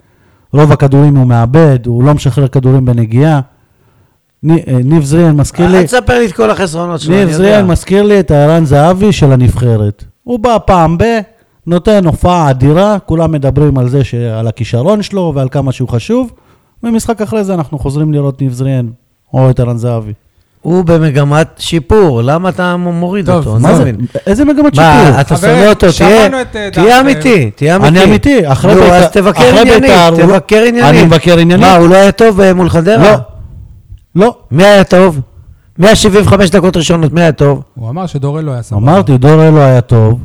B: רוב הכדורים הוא מאבד, הוא לא משחרר כדורים בנגיעה. ני- אה, ניב זרין מזכיר לי...
C: אל תספר לי את כל החסרונות שלו,
B: ניב
C: אני יודע.
B: זריאן מזכיר לי את ערן זהבי של הנבחרת. הוא בא פעם ב... נותן הופעה אדירה, כולם מדברים על זה, ש- על הכישרון שלו ועל כמה שהוא חשוב, ומשחק אחרי זה אנחנו חוזרים לראות ניב זריאן או את ערן זהבי.
C: הוא במגמת שיפור, למה אתה מוריד
A: טוב,
C: אותו? אני
B: מה
C: לא
B: זה?
C: מבין.
B: איזה מגמת
C: מה,
B: שיפור?
C: אתה
A: חברים,
C: שונא אותו, תהיה
A: שמענו את, אה,
C: תהיה
A: דעתכם.
C: אמיתי, תהיה אמיתי.
B: אני אמיתי, אחרי
C: נו,
B: בית"ר-
C: אז תבקר
B: אחרי
C: עניינית,
B: בית"ר הוא לא-
C: תבקר עניינית.
B: אני מבקר עניינית.
C: מה, הוא לא היה טוב אה, מול חדרה?
B: לא. לא,
C: מי היה טוב? 175 דקות ראשונות, מי היה טוב?
A: הוא אמר שדורל לא היה סבבה.
B: אמרתי, דור אלו היה טוב,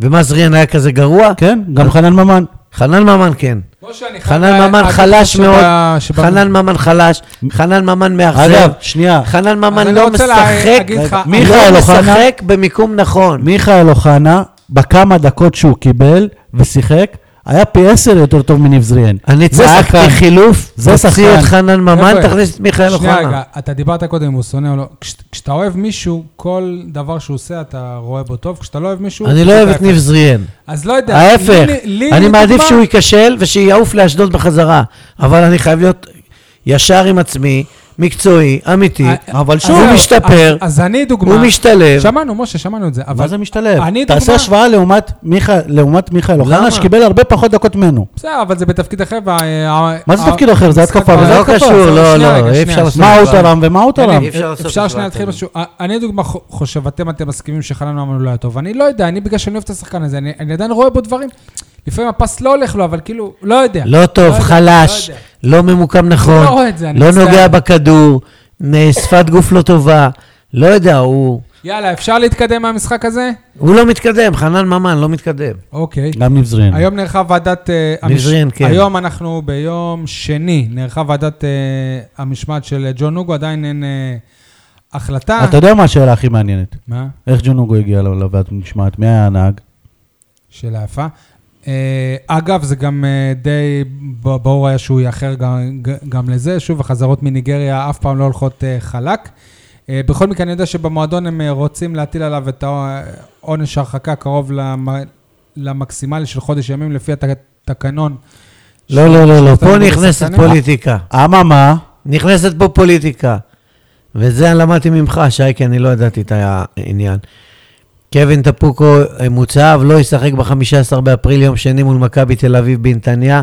C: ומה, זריאן היה כזה גרוע?
B: כן, גם חנן ממן.
C: חנן ממן כן.
A: משה, אני חייב
C: חנן
A: לה-
C: ממן
A: להגיד
C: חלש
A: משהו
C: מאוד,
A: ב- שב-
C: חנן ממן חלש, חנן ממן מאכזב,
B: אגב, שנייה,
C: חנן
A: אז
C: ממן
A: אני
C: לא
A: רוצה לה-
C: משחק,
A: להגיד לך-
B: מיכאל
C: לא
B: אוחנה-
C: משחק במיקום נכון.
B: מיכאל אוחנה, בכמה דקות שהוא קיבל ושיחק, היה פי עשר יותר טוב מניב זריאן.
C: אני
B: זה
C: צעקתי
B: שחקן.
C: חילוף,
B: זה
C: תוציא
B: שחקן.
C: את חנן ממן,
A: חבר'ה,
C: תכניס את מיכאל
A: שנייה רגע,
C: אוחנה.
A: אתה דיברת קודם אם הוא שונא או לא. כש- כשאתה אוהב מישהו, כל דבר שהוא עושה אתה רואה בו טוב, כשאתה לא אוהב מישהו...
C: אני לא
A: אתה
C: אוהב את
A: ההפך.
C: ניב זריאן.
A: אז לא יודע.
C: ההפך,
A: לי- לי-
C: אני
A: לי
C: מעדיף
A: לדוגמה-
C: שהוא ייכשל ושיעוף לאשדוד בחזרה, אבל אני חייב להיות ישר עם עצמי מקצועי, אמיתי,
A: אה,
B: אבל
A: אז
B: שוב,
A: זהו,
B: הוא
C: משתפר,
A: אז- אז אני דוגמה.
C: הוא משתלב.
A: שמענו, משה, שמענו את זה. אבל-
B: מה זה משתלב?
A: אני
B: תעשה
A: דוגמה-
B: השוואה לעומת מיכאל- לעומת מיכאל אוחנה,
C: למה?
B: שקיבל הרבה פחות דקות ממנו.
A: בסדר, אבל זה בתפקיד אחר. וה-
B: מה זה
A: ה-
B: תפקיד אחר? זה
A: המשחק
B: התקפה,
A: ב-
B: וזה
A: לא
B: התקפה.
A: קשור,
C: זה לא,
A: שנייה,
C: לא,
A: רגע, שנייה,
C: אי אפשר
A: שנייה.
C: לעשות
B: מה הוא תרם ומה הוא תרם?
A: אני-
C: אפשר לעשות
A: אפשר
C: השוואה
A: שנייה להתחיל
C: כזאת.
A: משהו. אה, אני לדוגמה חו- חושב, אתם אתם מסכימים שחנן ממן לא היה טוב. אני לא יודע, אני בגלל שאני אוהב את השחקן הזה, אני אני עדיין רואה בו דברים. לפעמים הפס לא הולך לו, אבל כאילו, לא יודע.
C: לא טוב,
A: יודע,
C: חלש,
A: לא יודע.
C: לא ממוקם נכון,
A: לא רואה את זה, אני
C: לא
A: מצטער.
C: נוגע בכדור, אה, שפת גוף לא טובה, לא יודע, הוא
A: יאללה, אפשר להתקדם מהמשחק הזה?
C: הוא לא מתקדם, חנן ממן לא מתקדם.
A: אוקיי.
B: גם נבזרין.
A: היום נערכה ועדת... אה,
C: נזרין, כן.
A: היום אנחנו ביום שני, נערכה ועדת אה, המשמעת של אה, ג'ון נוגו, עדיין אין אה, החלטה.
B: אתה יודע מה השאלה הכי מעניינת?
A: מה?
B: איך ג'ונוגו הגיע ל- לוועדת משמעת? מי היה הנהג?
A: שאלה יפה. אה, אגב, זה גם אה, די ב- ברור היה שהוא יאחר גם, גם לזה. שוב, החזרות מניגריה אף פעם לא הולכות אה, חלק. אה, בכל מקרה, אני יודע שבמועדון הם אה, רוצים להטיל עליו את העונש ההרחקה קרוב למ, למקסימלי של חודש ימים, לפי התקנון.
C: לא, לא, לא, לא,
A: שאתה
C: פה
A: מבין
C: נכנסת
A: בשחקנים?
C: פוליטיקה.
B: אממה,
C: נכנסת פה פוליטיקה. וזה אני למדתי ממך, שי, כי אני לא ידעתי את העניין. קווין טפוקו אה, מוצב, לא ישחק ב-15 באפריל, יום שני מול מכבי תל אביב בנתניה,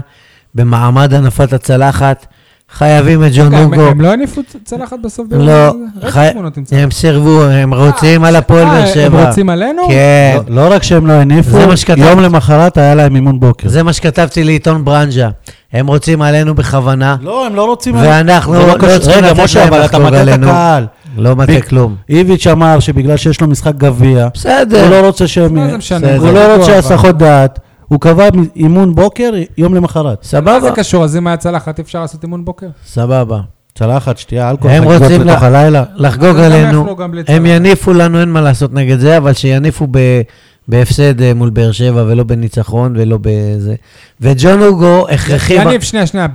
C: במעמד הנפת הצלחת. חייבים את ג'ון
B: אוקיי,
A: רגע, הם-
C: נוגו.
A: הם לא הניפו צלחת בסוף? ביום
C: לא,
A: הזה?
C: חי-
A: ראיתי תמונות עם
B: לא-
A: צלחת.
C: הם סירבו, הם רוצים על הפועל
A: אה,
C: באר שבע.
A: הם רוצים עלינו?
C: כן.
B: לא- לא רק שהם לא הניפו,
C: זה מה שכתבתי.
B: יום למחרת היה להם אימון בוקר.
C: זה מה שכתבתי לעיתון ברנז'ה. הם רוצים עלינו בכוונה,
B: לא, הם לא רוצים...
C: ואנחנו
B: זה
C: לא
B: קשור-
C: צריכים
B: רגע,
C: לתת
B: משה,
C: להם
B: אבל אתה
C: לחגוג
B: מטעה את
C: עלינו.
B: הקהל.
C: לא מטה
B: ביג-
C: כלום.
B: איביץ' אמר שבגלל שיש לו משחק גביע, הוא
C: בסדר.
B: לא רוצה שהם...
A: מה זה משנה?
B: הוא
A: זה
B: לא
A: ויכוח,
B: רוצה
A: אבל.
B: הסחות דעת, הוא קבע אימון בוקר יום למחרת.
A: מה זה
C: סבבה.
A: קשור? אז אם היה צלחת, אי אפשר לעשות אימון בוקר?
C: סבבה.
B: צלחת, שתייה, אלכוהול,
C: הם
B: חגיגות
C: רוצים
B: לתוך
C: לה-
B: הלילה.
C: לחגוג
A: גם
C: עלינו,
A: אנחנו, גם בלי
C: הם
A: צלחת.
C: יניפו לנו, אין מה לעשות נגד זה, אבל שיניפו ב- בהפסד אה, מול באר שבע ולא בניצחון ולא בזה. וג'ון הוגו הכרחי, ב-
A: יניב, שנייה, שנייה,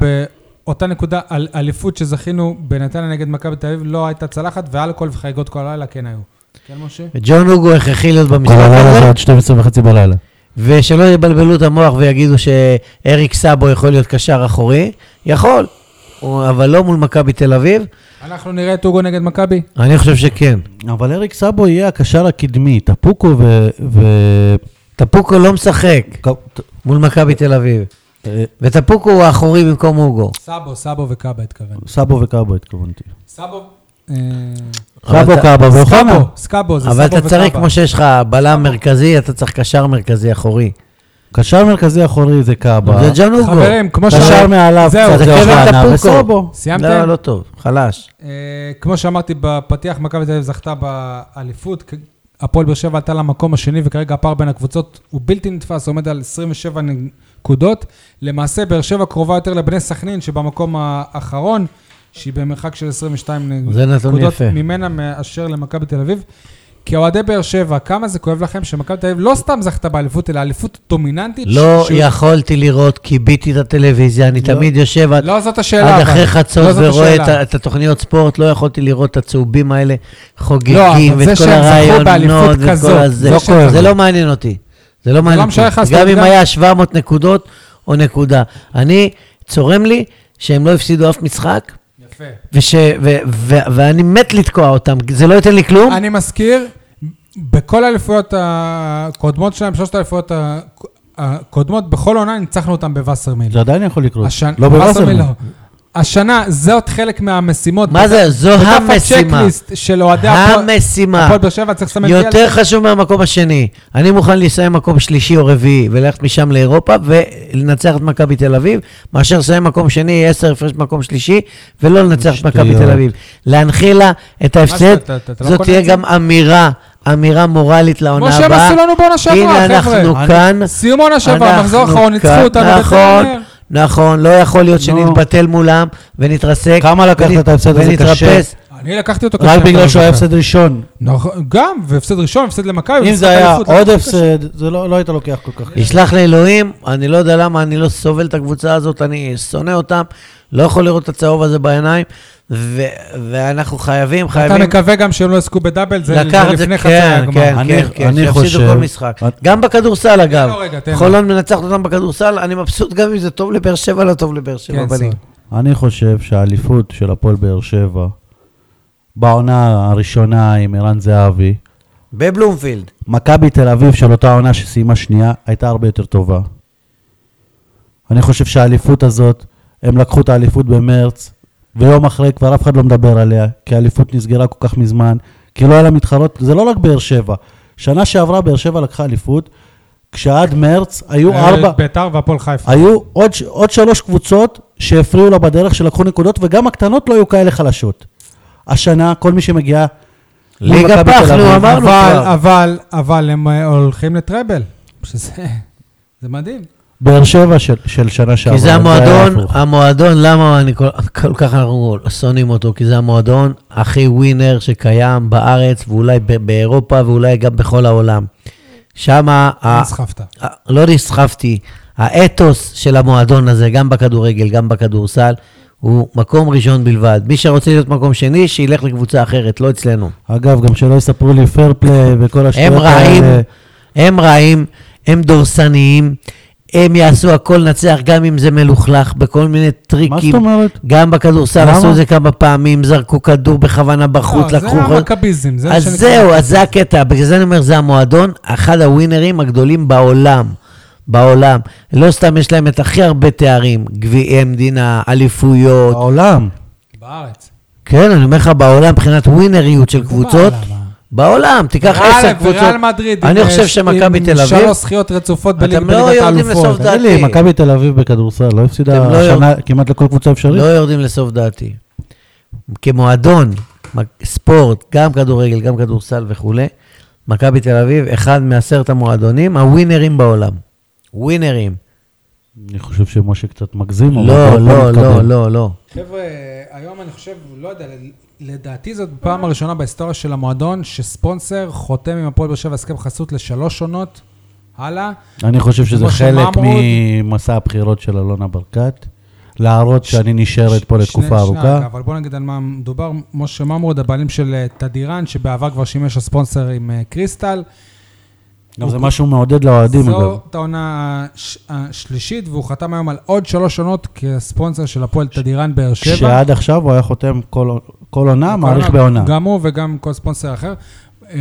A: באותה נקודה, על- אליפות שזכינו בנתניה נגד מכבי תל אביב, לא הייתה צלחת, ואלכוהול וחגיגות כל הלילה כן היו. כן, משה?
C: וג'ון הוגו הכרחי להיות
B: כל
C: במשחק
B: הלילה
C: הזה,
B: זה עד 12 וחצי בלילה.
C: ושלא יבלבלו את המוח ויגידו שאריק סאבו יכול להיות קשר אחורי, יכול, הוא- אבל לא מול מכבי תל אביב,
A: אנחנו נראה את אוגו נגד מכבי?
C: אני חושב שכן.
B: אבל אריק סאבו יהיה הקשר הקדמי, טפוקו ו... ו...
C: טפוקו לא משחק
B: ק-
C: מול מכבי תל אביב,
B: אה,
C: וטפוקו הוא האחורי במקום הוגו.
A: סאבו, סאבו וקאבה התכוון.
B: סאבו וקאבו התכוונתי.
A: סאבו... אה,
C: אבל
B: סאבו
C: אתה-
B: קאבו ואוחנה.
A: סקאבו, סקאבו, זה סאבו
C: אבל
A: וקאבה.
C: אתה צריך, כמו שיש לך בלם מרכזי, אתה צריך קשר מרכזי אחורי.
B: קשר מרכזי אחורי זה קאבה.
C: זה ג'ון אוגו.
A: חברים, כמו
B: קשר
A: שאמרתי-
B: מעליו
A: זהו,
B: קצת
A: זה
C: קבר
B: אוחנה
C: טפוקו.
B: וסאבו.
A: סיימתם?
C: לא, לא טוב, חלש.
A: אה, כמו שאמרתי בפתיח, מכבי תל אביב זכתה באליפות. כ- הפועל באר שבע עלתה למקום השני, וכרגע הפער בין הקבוצות הוא בלתי נתפס, עומד על 27 נקודות. למעשה, באר שבע קרובה יותר לבני סכנין, שבמקום האחרון, שהיא במרחק של 22
C: זה נתון
A: נקודות
C: יפה.
A: ממנה מאשר למכבי תל אביב. כאוהדי באר שבע, כמה זה כואב לכם שמכבי תל אביב לא סתם זכתה באליפות, אלא אליפות דומיננטית?
C: לא
A: ש-
C: יכולתי לראות, כיביתי את הטלוויזיה, אני תמיד יושב עד
A: לא זאת השאלה.
C: עד
A: אבל.
C: אחרי
A: לא
C: חצות
A: זאת
C: ורואה את
A: השאלה.
C: ה- את התוכניות ספורט, לא יכולתי לראות את הצהובים האלה
A: לא,
C: חוגגים,
A: אבל זה
C: ואת כל
A: שהם זכו באליפות
C: הרעיונות, ואת כל
A: כזאת,
C: הזה.
A: זה
C: לא
A: ש-
C: כואב. זה
A: זה
C: לא מעניין אותי. זה לא מעניין
A: משייך
C: אותי.
A: לעשות
C: גם אם
A: גם-
C: היה 700 נקודות או נקודה. אני, צורם לי שהם לא הפסידו אף משחק,
A: יפה.
C: וש, ו, ו, ואני מת לתקוע אותם, זה לא ייתן לי כלום.
A: אני מזכיר, בכל האליפויות הקודמות שלהם, שלושת האליפויות ה- הקודמות, בכל עונה ניצחנו אותם בווסרמיל.
B: זה עדיין יכול לקרות.
A: השנ-
B: לא
A: בווסרמיל
B: בווסרמיל.
A: לא. השנה, זאת חלק מהמשימות.
C: מה זה? זו
A: בדף
C: המשימה.
A: הצ'קליסט של אוהדי הפועל
C: המשימה.
A: הפועל באר שבע, צריך לסמן
C: יותר חשוב מהמקום השני. אני מוכן לסיים מקום שלישי או רביעי וללכת משם לאירופה ולנצח את מכבי תל אביב, מאשר לסיים מקום שני, 10 הפרש מקום שלישי, ולא לנצח את מכבי
B: שטויות.
C: תל אביב. להנחיל לה את ההפסד,
A: אתה- אתה- אתה לא
C: זאת
A: קונה
C: תהיה
A: את זה?
C: גם אמירה, אמירה מורלית לעונה
A: כמו
C: הבאה.
A: שהם עשו לנו בעונה שעברה,
C: הנה, אנחנו
A: חבר'ה.
C: כאן.
A: סיום עונה שעברה,
C: אנחנו
A: המחזור האחרון, ניצחו
C: כאן.
A: אותנו בטרנר.
C: נכון, נכון, לא יכול להיות שנתבטל מולם ונתרסק.
B: כמה לקחת
C: ונ-
B: את ההפסד הזה קשה?
C: ונתרפס.
A: אני לקחתי אותו
B: רק
A: כשהם
B: בגלל
A: לא
B: שהוא היה
A: זוכר.
B: הפסד ראשון.
A: נכון, גם, והפסד ראשון, הפסד למכבי.
B: אם
A: והפסד
B: זה היה
A: לאליפות,
B: עוד
A: לקחתי
B: הפסד, זה לא לא היית לוקח כל כך. קשה.
C: ישלח לאלוהים, אני לא יודע למה, אני לא סובל את הקבוצה הזאת, אני שונא אותם, לא יכול לראות את הצהוב הזה בעיניים, ו- ואנחנו חייבים,
A: אתה
C: חייבים
A: מקווה גם שהם לא יעסקו בדאבל, זה
C: לקחת
A: זה
C: את זה,
A: לפני חצי
C: כן,
A: הגמר.
C: כן,
B: אני-
C: כן, כן,
B: אני
C: שיפסידו
B: חושב-
C: כל משחק.
B: את-
C: גם בכדורסל אגב,
A: לו רגע, תן לו.
C: חולון מנצחת אותם בכדורסל, אני מבסוט גם אם זה טוב לבאר שבע, לא טוב לבאר שבע
A: כן,
C: בנים.
A: סול.
B: אני חושב שהאליפות של הפועל באר שבע, בעונה הראשונה עם ערן זהבי,
C: בבלומפילד.
B: מכבי תל אביב של אותה עונה שסיימה שנייה, הייתה הרבה יותר טובה. אני חושב שהאליפות הזאת, הם לקחו את האליפות במרץ, ויום אחרי כבר אף אחד לא מדבר עליה, כי האליפות נסגרה כל כך מזמן, כי לא היה לה מתחרות, זה לא רק באר שבע. שנה שעברה באר שבע לקחה אליפות, כשעד מרץ היו
A: אה,
B: ארבע...
A: ביתר והפועל חיפה.
B: היו עוד, ש- עוד שלוש קבוצות שהפריעו לה בדרך, שלקחו נקודות, וגם הקטנות לא היו כאלה חלשות. השנה, כל מי שמגיע...
C: ליגה
B: ממכבי תל
C: פח, נו,
B: אביב-
C: אמרנו
A: אבל,
C: כבר.
A: אבל, אבל הם אה, הולכים לטראבל, שזה זה מדהים.
C: אה,
B: באר שבע של, של שנה שעברה.
C: כי זה
B: היה
C: המועדון,
B: הפוך.
C: המועדון, למה אני כל, כל כך אנחנו שונאים אותו? כי זה המועדון הכי ווינר שקיים בארץ, ואולי ב- באירופה, ואולי גם בכל העולם. שמה... ה-
A: נסחפת.
C: ה- לא נסחפתי, האתוס של המועדון הזה, גם בכדורגל, גם בכדורסל, הוא מקום ראשון בלבד. מי שרוצה להיות מקום שני, שילך לקבוצה אחרת, לא אצלנו.
B: אגב, גם שלא יספרו לי פייר פליי וכל השטויות
C: הם רעים,
B: האלה.
C: הם רעים, הם דורסניים, הם יעשו הכל לנצח, גם אם זה מלוכלך, בכל מיני
B: מה
C: טריקים.
B: זאת אומרת?
C: גם בכדורסל
B: למה?
C: עשו את זה כמה פעמים, זרקו כדור בכוונה בחוץ,
A: לא,
C: לקחו...
A: זה
C: חוד-
A: המכביזם, זה לא מה
C: אז
A: שנקרא.
C: זהו, אז זה הקטע, בגלל זה אני אומר, זה המועדון, אחד הווינרים הגדולים בעולם. בעולם. לא סתם יש להם את הכי הרבה תארים, גביעי מדינה, אליפויות.
A: לא.
B: העולם.
A: בארץ.
C: כן, אני אומר לך, בעולם, מבחינת ווינריות של קבוצות,
A: בעולם,
C: בעולם, תיקח עשר
A: ריאל
C: קבוצות.
A: וריאל מדריד.
C: אני
A: עם,
C: חושב
A: אה,
C: שמכבי
A: עם
C: תל אביב,
A: שלוש זכיות רצופות
C: אתם
A: בליג-
C: לא
A: בליגת
C: יורדים
A: האלופות.
C: לסוף דעת.
B: תגיד לי,
C: לדעתי.
B: מכבי תל אביב בכדורסל לא הפסידה
C: אתם לא
B: השנה כמעט לכל קבוצה אפשרית?
C: לא יורדים לסוף דעתי. כמועדון, מק- ספורט, גם כדורגל, גם כדורסל וכולי, מכבי תל אביב, אחד מעשרת המועדונים, הווינרים בעולם. ווינרים.
B: אני חושב שמשה קצת מגזים. אבל בוא- בוא
C: לא, לא,
B: נתקדם.
C: לא, לא, לא.
A: חבר'ה, היום אני חושב, לא יודע, לדעתי זאת פעם הראשונה בהיסטוריה של המועדון שספונסר חותם עם הפועל באר שבע הסכם חסות לשלוש עונות. הלאה.
B: אני חושב שזה
A: כמו
B: חלק
A: שמעמוד.
B: ממסע הבחירות של אלונה ברקת, להראות שאני נשארת פה
A: שני-
B: לתקופה
A: שנייה, רגע,
B: ארוכה.
A: אבל בוא נגיד על מה מדובר. משה ממרוד, הבעלים של אה, תדירן, שבעבר כבר שימש הספונסר עם אה, קריסטל.
B: גם זה משהו מעודד לאוהדים, אגב.
A: זאת העונה הש- השלישית, והוא חתם היום על עוד שלוש עונות כספונסר של הפועל תדירן באר שבע.
B: שעד עכשיו הוא היה חותם כל כל עונה, מעריך
A: כל-
B: בעונה.
A: גם הוא וגם כל ספונסר אחר. אה,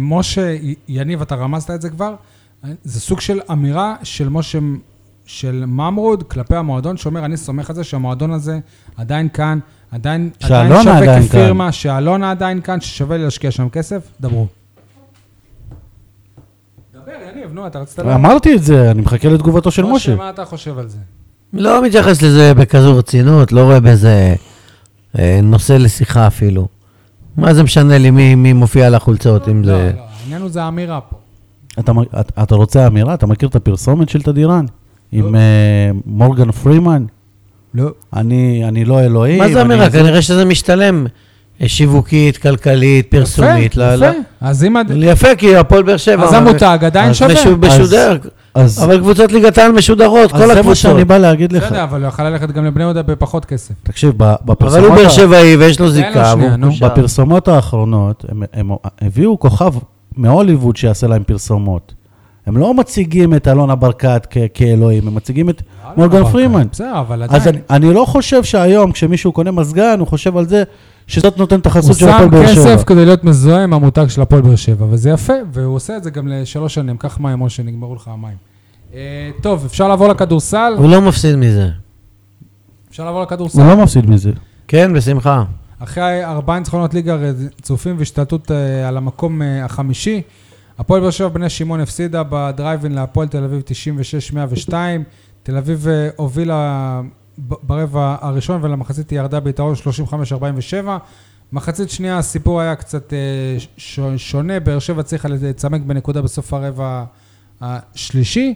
A: משה, י- יניב, אתה רמזת את זה כבר, אה, זה סוג של אמירה של משה, של ממרוד כלפי המועדון, שאומר, אני סומך על זה שהמועדון הזה עדיין כאן, עדיין, עדיין
B: שאלונה
A: שווה
B: עדיין
A: כפירמה, כאן. שאלונה עדיין כאן, ששווה לי להשקיע שם כסף, דברו. דבר, יניב, נו, אתה רצית לדעת.
B: אמרתי את זה, אני מחכה לתגובתו אה, של משה.
A: מה אתה חושב על זה?
C: לא מתייחס לזה בכזו רצינות, לא רואה בזה אה, נושא לשיחה אפילו. מה זה משנה לי מי, מי מופיע על החולצות, אם
A: לא,
C: זה...
A: לא, העניין הוא זה האמירה פה.
B: אתה מ- את- אתה רוצה אמירה? אתה מכיר את הפרסומת של תדירן?
C: לא.
B: עם אה, מורגן פרימן?
A: לא.
B: אני אני לא אלוהים.
C: מה זה
B: אני-
C: אמירה? כנראה שזה משתלם אה, שיווקית, כלכלית, פרסומית.
A: יפה,
C: לא- לא-
A: יפה. אז אם... הד-
C: יפה, כי הפועל באר שבע.
A: אז המותג עדיין
B: אז
A: שווה.
C: משו- משודר,
B: אז
C: אבל קבוצות ליגת העל משודרות, כל
B: אז זה מה
C: הקבוצות.
B: שאני בא להגיד לך.
A: בסדר, לא אבל הוא יכל ללכת גם לבני יהודה בפחות כסף.
B: תקשיב, ב- בפרסומות...
C: אבל הוא באר
B: ה-
C: שבעי ויש לו
A: לו
C: זיקה.
A: שנייה,
C: והוא
A: נו.
C: מקושר.
B: בפרסומות האחרונות, הם, הם הביאו כוכב מהוליווד שיעשה להם פרסומות. הם לא מציגים את אלונה ברקת כ- כאלוהים, הם מציגים את מורגן
A: אבל-
B: פרימן.
A: אוקיי. בסדר, אבל עדיין.
B: אז אני, אני לא חושב שהיום, כשמישהו קונה מזגן, הוא חושב על זה שזאת נותנת לא את
A: הוא
B: החסות של
A: שם
B: הפועל באר שבע.
A: כסף כדי להיות מזוהה עם המותג של הפועל באר שבע, וזה יפה, והוא עושה את זה גם לשלוש שנים. קח מים, משה, נגמרו לך המים. אה, טוב, אפשר לעבור לכדורסל?
C: הוא לא מפסיד מזה.
A: אפשר לעבור לכדורסל.
B: הוא לא מפסיד מזה.
C: כן, בשמחה.
A: אחרי ארבעה ניצחונות ליגה רצופים והשתלטות אה, על המקום אה, החמישי, הפועל באר שבע בני שמעון הפסידה בדרייבין להפועל תל אביב 96-102. תל אביב אה, הובילה ב- ברבע הראשון ולמחצית היא ירדה ביתרון 35-47. מחצית שנייה הסיפור היה קצת אה, ש- שונה, באר שבע צריכה לצמק בנקודה בסוף הרבע השלישי.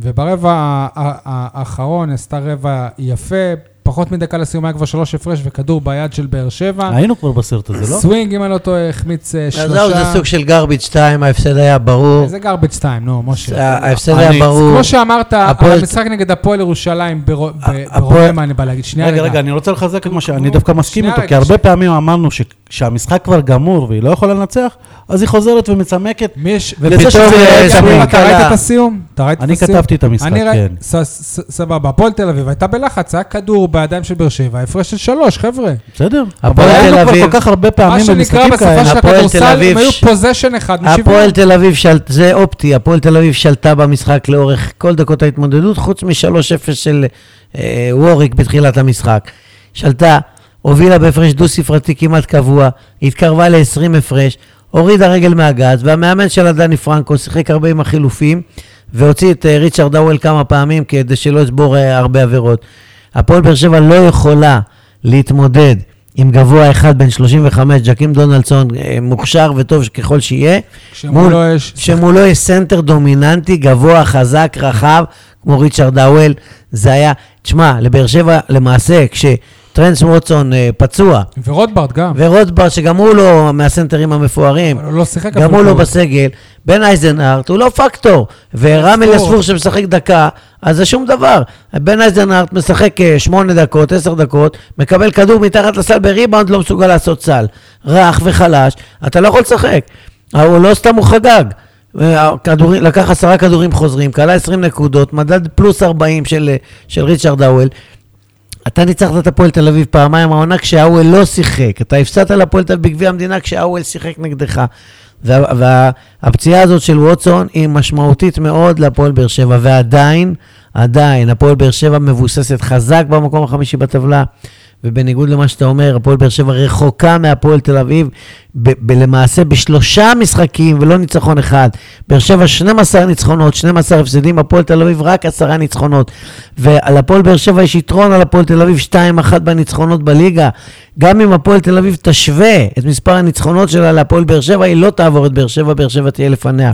A: וברבע ה- ה- ה- האחרון עשתה רבע יפה, פחות מדקה לסיום היה כבר שלוש הפרש וכדור ביד של באר שבע.
C: אה,
B: היינו כבר בסרט הזה, לא?
A: סווינג, אם אני לא טועה, החמיץ אה,
C: אז זהו, זה
A: שלושה.
C: סוג של גרביץ' 2, ההפסד היה ברור.
A: זה garbage time, נו, משה.
C: ה- ההפסד
B: אני-
C: היה ברור.
A: כמו שאמרת, על
C: אה, הפועל-
A: המשחק נגד הפועל ירושלים ברו- ב-
C: הפועל-
A: ברומא, אני בא להגיד, שנייה
B: רגע,
A: רגע.
B: רגע, אני רוצה לחזק את מה שאני דווקא מסכים
A: שנייה,
B: איתו,
A: רגע,
B: כי הרבה
A: שנייה.
B: פעמים אמרנו ש- כשהמשחק כבר גמור והיא לא יכולה לנצח, אז היא חוזרת ומצמקת.
A: מי יש...
B: ולזה שזה
A: אה,
B: יצא
A: שמיר, אתה
B: מקלה.
A: ראית את הסיום? אתה ראית את
B: אני
A: הסיום?
B: כתבתי את המשחק,
A: אני ראי-
B: כן.
A: ס- ס- סבבה, הפועל תל אביב הייתה בלחץ, היה כדור בידיים של באר שבע, הפרש של שלוש, חבר'ה.
B: בסדר.
C: הפועל
B: אבל
C: תל
B: היינו כבר
C: אביב-
B: כל כך הרבה
A: מה
B: פעמים
A: שנקרא
B: במשחקים
A: בשפה
B: כאלה.
A: של
C: הפועל תל
A: הכדורסל,
C: אביב
A: הם היו
C: ש-
A: פוזיישן אחד משוויון.
C: הפועל תל אביב, של... זה אופטי, הפועל תל אביב שלטה במשחק לאורך כל דקות ההתמודדות, חוץ מ-3-0 של אה, ווריק בתחילת המשחק. שלטה, הובילה בהפרש דו-ספרתי כמעט קבוע, התקרבה ל-20 הפרש, הורידה רגל מהגז, והמאמן שלה, דני פרנקו, שיחק הרבה עם החילופים, והוציא את אה, ריצ'רד דאוול כמה פעמים כדי שלא יצבור אה, הרבה עבירות. הפועל באר שבע לא יכולה להתמודד עם גבוה אחד בן 35, ג'קים דונלדסון, אה, מוכשר וטוב ככל שיהיה. מול-
A: כשמולו יש...
C: שמולו לא יש סנטר דומיננטי, גבוה, חזק, רחב, כמו ריצ'רד האוול. זה היה, תשמע, לבאר שבע, למעשה, כשטרנס ווטסון אה, פצוע,
A: ורוטברט גם.
C: ורוטבר, שגם הוא לא מהסנטרים המפוארים,
A: אבל הוא לא שיחק
C: גם הוא לא
A: כלום.
C: בסגל, בן אייזנארט הוא לא פקטור, ורמי
A: פקטור.
C: לספור שמשחק דקה, אז זה שום דבר. בן אייזנארט משחק אה, שמונה דקות, עשר דקות, מקבל כדור מתחת לסל בריבאונד, לא מסוגל לעשות סל. רך וחלש, אתה לא יכול לשחק. אבל הוא לא סתם הוא חגג. אה, הכדורים- לקח עשרה כדורים חוזרים, כלה 20 נקודות, מדד פלוס 40 של, אה, של ריצ'רד האוול. אתה ניצחת את הפועל תל אביב פעמיים העונה כשהאוול לא שיחק. אתה הפסדת להפועל תל אביב בגביע המדינה כשהאוול שיחק נגדך. והפציעה וה, הפציעה הזאת של ווטסון היא משמעותית מאוד להפועל באר שבע, ועדיין, עדיין, הפועל באר שבע מבוססת חזק במקום החמישי בטבלה, ובניגוד למה שאתה אומר, הפועל באר שבע רחוקה מהפועל תל אביב, ב- ב- למעשה בשלושה משחקים ולא ניצחון אחד. באר שבע 12 ניצחונות, 12 הפסדים, הפועל תל אביב רק 10 ניצחונות. ועל הפועל באר שבע יש יתרון על הפועל תל אביב 2-1 בניצחונות בליגה. גם אם הפועל תל אביב תשווה את מספר הניצחונות שלה להפועל באר שבע, היא לא תעבור את באר שבע, באר שבע תהיה לפניה.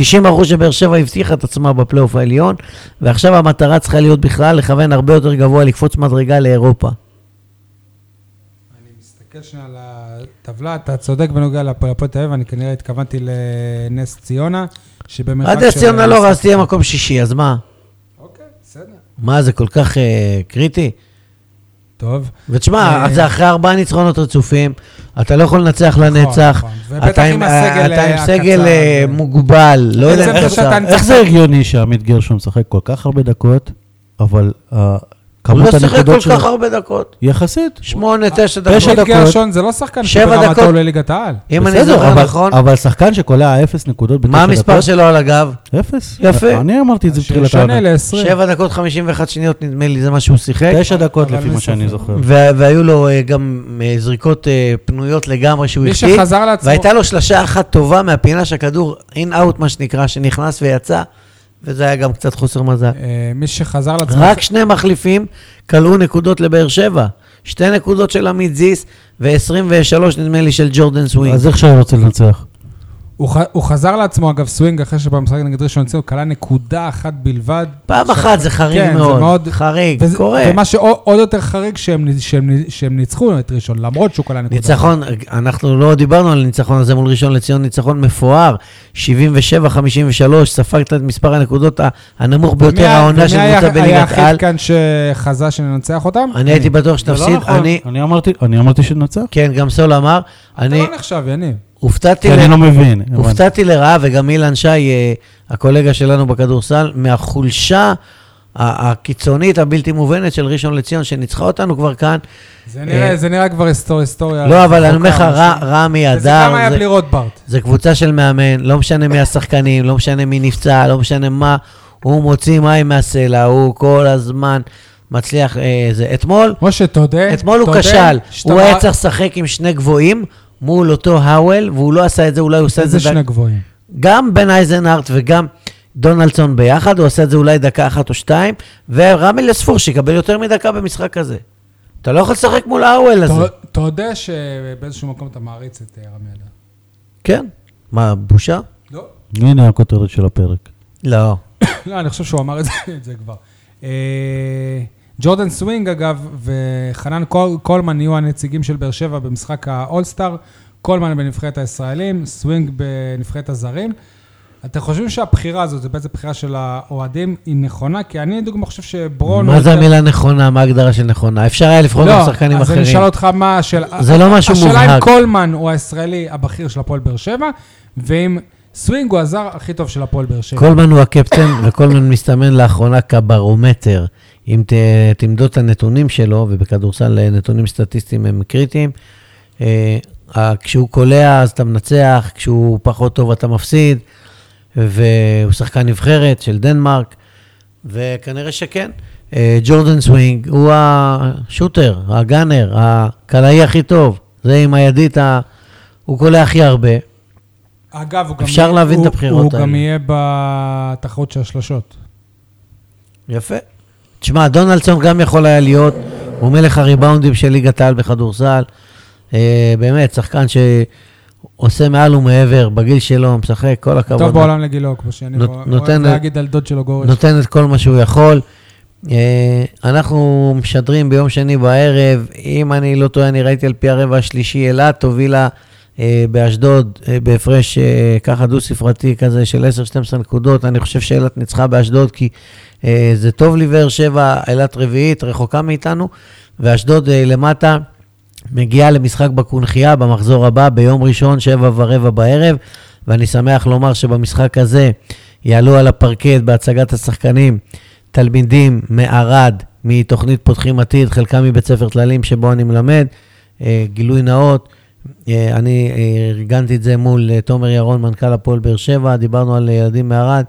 C: 90% שבאר שבע הבטיחה את עצמה בפלייאוף העליון, ועכשיו המטרה צריכה להיות בכלל לכוון הרבה יותר גבוה, לקפוץ מדרגה לאירופה.
A: אני מסתכל שנייה על הטבלה, אתה צודק בנוגע להפועל הפועל תל אביב, אני כנראה התכוונתי לנס ציונה, שבמרחק
C: עד נס ציונה לא רז תהיה מקום שישי, אז מה?
A: אוקיי, בסדר.
C: מה, זה כל כך אה, קריטי?
A: טוב.
C: ותשמע,
A: אה,
C: זה אחרי ארבעה ניצחונות רצופים, אתה לא יכול לנצח לנצח,
A: נכון. ובטח
C: אתה
A: עם הסגל,
C: אתה עם
A: אה,
C: סגל
A: הקצר.
C: אה, מוגבל, לא
A: בעצם
C: יודע
A: זה
C: איך
A: שאתה
C: אתה...
A: ניצחת-
B: איך זה הגיוני שעמית גרשון משחק כל כך הרבה דקות, אבל אה,
C: הוא לא
B: כמות
C: שיחק
B: הנקודות
C: כל
B: שלו...
C: כך הרבה דקות.
B: יחסית.
C: שמונה, תשע
B: תשע
C: דקות.
A: עמית
B: דקות.
A: גרשון זה לא שחקן
C: שבע
A: שברמתו
C: דקות.
A: עולה ליגת העל.
C: אם אני
B: בסדר,
C: זוכר
B: אבל-
C: נכון,
B: אבל שחקן שקולע אפס נקודות בתשע דקות...
C: מה המספר שלו על הגב?
B: אפס.
C: יפה.
B: אני אמרתי את זה בתחילת
A: שונה
B: העונה.
A: ל-20.
C: שבע דקות חמישים ואחת שניות, נדמה לי, זה מה שהוא שיחק.
B: תשע דקות
A: אבל
B: לפי
A: אין
B: מה שאני
A: ספק.
B: זוכר.
C: וה- והיו לו אה, גם אה, זריקות אה, פנויות לגמרי שהוא
A: מי
C: החטיא.
A: שחזר לעצמו.
C: והייתה לו שלשה אחת טובה מהפינה שהכדור אין-אאוט, מה שנקרא, שנכנס ויצא, וזה היה גם קצת חוסר מזל.
A: אה, מי שחזר לעצמו.
C: רק שני מחליפים כלאו נקודות לבאר שבע. שתי נקודות של עמית זיס ו-23 נדמה לי של ג'ורדן סווינג.
B: אז איך שאני רוצה לנצח?
A: הוא ח- הוא חזר לעצמו, אגב, סווינג, אחרי שבמשחק נגד ראשון לציון, הוא כלה נקודה אחת בלבד.
C: פעם אחת זה חריג
A: כן, זה
C: מאוד.
A: מאוד-
C: חריג,
A: וזה-
C: קורה.
A: ומה שעוד יותר חריג, שהם נ- שהם נ- שהם ניצחו את ראשון, למרות שהוא כלה נקודה.
C: ניצחון, אנחנו לא דיברנו על הניצחון הזה מול ראשון לציון, ניצחון מפואר, 77-53, ספגת את מספר הנקודות ה- הנמוך ביותר
A: ומי-
C: העונה של קבוצה
A: ומי היה- היה
C: בליגת על.
A: היחיד כאן שחזה שננצח אותם?
C: אני הייתי בטוח
B: זה לא
C: שתפסיד,
B: נכון.
C: אני,
B: אני אמרתי- אני אמרתי שננצח.
C: כן, גם סול אמר,
A: אתה
C: אני
A: לא נחשב, יניב.
C: הופתעתי
B: כי אני לא מבין. הבנתי.
C: הופתעתי לרעה, וגם אילן שי, אה, הקולגה שלנו בכדורסל, מהחולשה ה- הקיצונית, הבלתי מובנת של ראשון לציון, שניצחה אותנו כבר כאן.
A: זה נראה-
C: אה,
A: זה נראה כבר היסטור- היסטוריה.
C: לא, אבל אני אומר לך,
A: רחוקה,
C: רע-
A: משהו.
C: רע
A: וזה
C: מהדר.
A: גם היה
C: זה-
A: בלי רוטברט.
C: זה קבוצה של מאמן, לא משנה מי השחקנים, לא משנה מי נפצע, לא משנה מה, הוא מוציא מים מהסלע, הוא כל הזמן מצליח אה, זה. אתמול,
A: משה, תודה.
C: אתמול הוא
A: תודה
C: כשל,
A: שאתה
C: הוא היה
A: מר-
C: צריך לשחק עם שני גבוהים מול אותו האוול, והוא לא עשה את זה, אולי הוא עושה את
A: איזה
C: זה דק-
A: שני גבוהים.
C: גם בן אייזנארט וגם דונלדסון ביחד, הוא עשה את זה אולי דקה אחת או שתיים, ורמי לספור שיקבל יותר מדקה במשחק הזה. אתה לא יכול לשחק מול האוול הזה.
A: ת- תודה שבאיזשהו מקום אתה מעריץ את אה, רמי אדר.
C: כן. מה, בושה?
A: לא?
B: הנה הכותרת של הפרק.
C: לא.
A: לא, אני חושב שהוא אמר את זה- את זה כבר. אה, ג'ורדן סווינג, אגב, וחנן קול- קולמן יהיו הנציגים של באר שבע במשחק האולסטאר. קולמן בנבחרת הישראלים, סווינג בנבחרת הזרים. אתם חושבים שהבחירה הזאת, זו בעצם בחירה של האוהדים, היא נכונה? כי אני לדוגמה חושב שברון...
C: מה
A: הוא
C: זה
A: יותר-
C: המילה נכונה? מה ההגדרה של נכונה? אפשר היה לבחור גם שחקנים
A: לא, אז אני
C: אחרים.
A: אשאל אותך מה השאלה...
C: זה לא משהו
A: השאלה אם
C: מובהק.
A: קולמן הוא הישראלי הבכיר של הפועל באר שבע, ואם סווינג הוא הזר הכי טוב של הפועל באר שבע.
C: קולמן הוא הקפטן, וקולמן מסתמן לאחרונה כברומטר. אם ת, תמדוד את הנתונים שלו, ובכדורסל אה, נתונים סטטיסטיים הם קריטיים, אה, ה- כשהוא קולע אז אתה מנצח, כשהוא פחות טוב אתה מפסיד, והוא שחקן נבחרת של דנמרק, וכנראה שכן. אה, ג'ורדן סווינג הוא השוטר, הגאנר, הקלעי הכי טוב, זה עם הידית, ה- הוא קולע הכי הרבה.
A: אגב, הוא גם...
C: אפשר
A: יהיה-
C: להבין את
A: הוא-
C: הבחירות
A: הוא גם
C: האלה.
A: יהיה בתחרות של השלשות.
C: יפה. תשמע, דונלדסון גם יכול היה להיות, הוא מלך הריבאונדים של ליגת העל בכדורסל. אה, באמת, שחקן שעושה מעל ומעבר, בגיל שלו, משחק, כל הכבוד.
A: טוב בעולם לגילו, כמו שאני
C: נות-
A: רואה-
C: נותן-
A: אוהב להגיד על דוד שלו גורש.
C: נותן את כל מה שהוא יכול. אה, אנחנו משדרים ביום שני בערב, אם אני לא טועה, אני ראיתי על פי הרבע השלישי, אילת הובילה אה, באשדוד אה, בהפרש אה, ככה דו-ספרתי כזה של 10-12 נקודות. אני חושב שאילת ניצחה באשדוד כי אה, זה טוב לבאר שבע, אילת רביעית, רחוקה מאיתנו, ואשדוד אה, למטה. מגיעה למשחק בקונכייה במחזור הבא, ביום ראשון, שבע ורבע בערב, ואני שמח לומר שבמשחק הזה יעלו על הפרקט בהצגת השחקנים תלמידים מערד, מתוכנית פותחים עתיד, חלקם מבית ספר טללים שבו אני מלמד, אה, גילוי נאות. אה, אני אה, ארגנתי את זה מול אה, תומר ירון, מנכ"ל הפועל באר שבע, דיברנו על אה, ילדים מערד.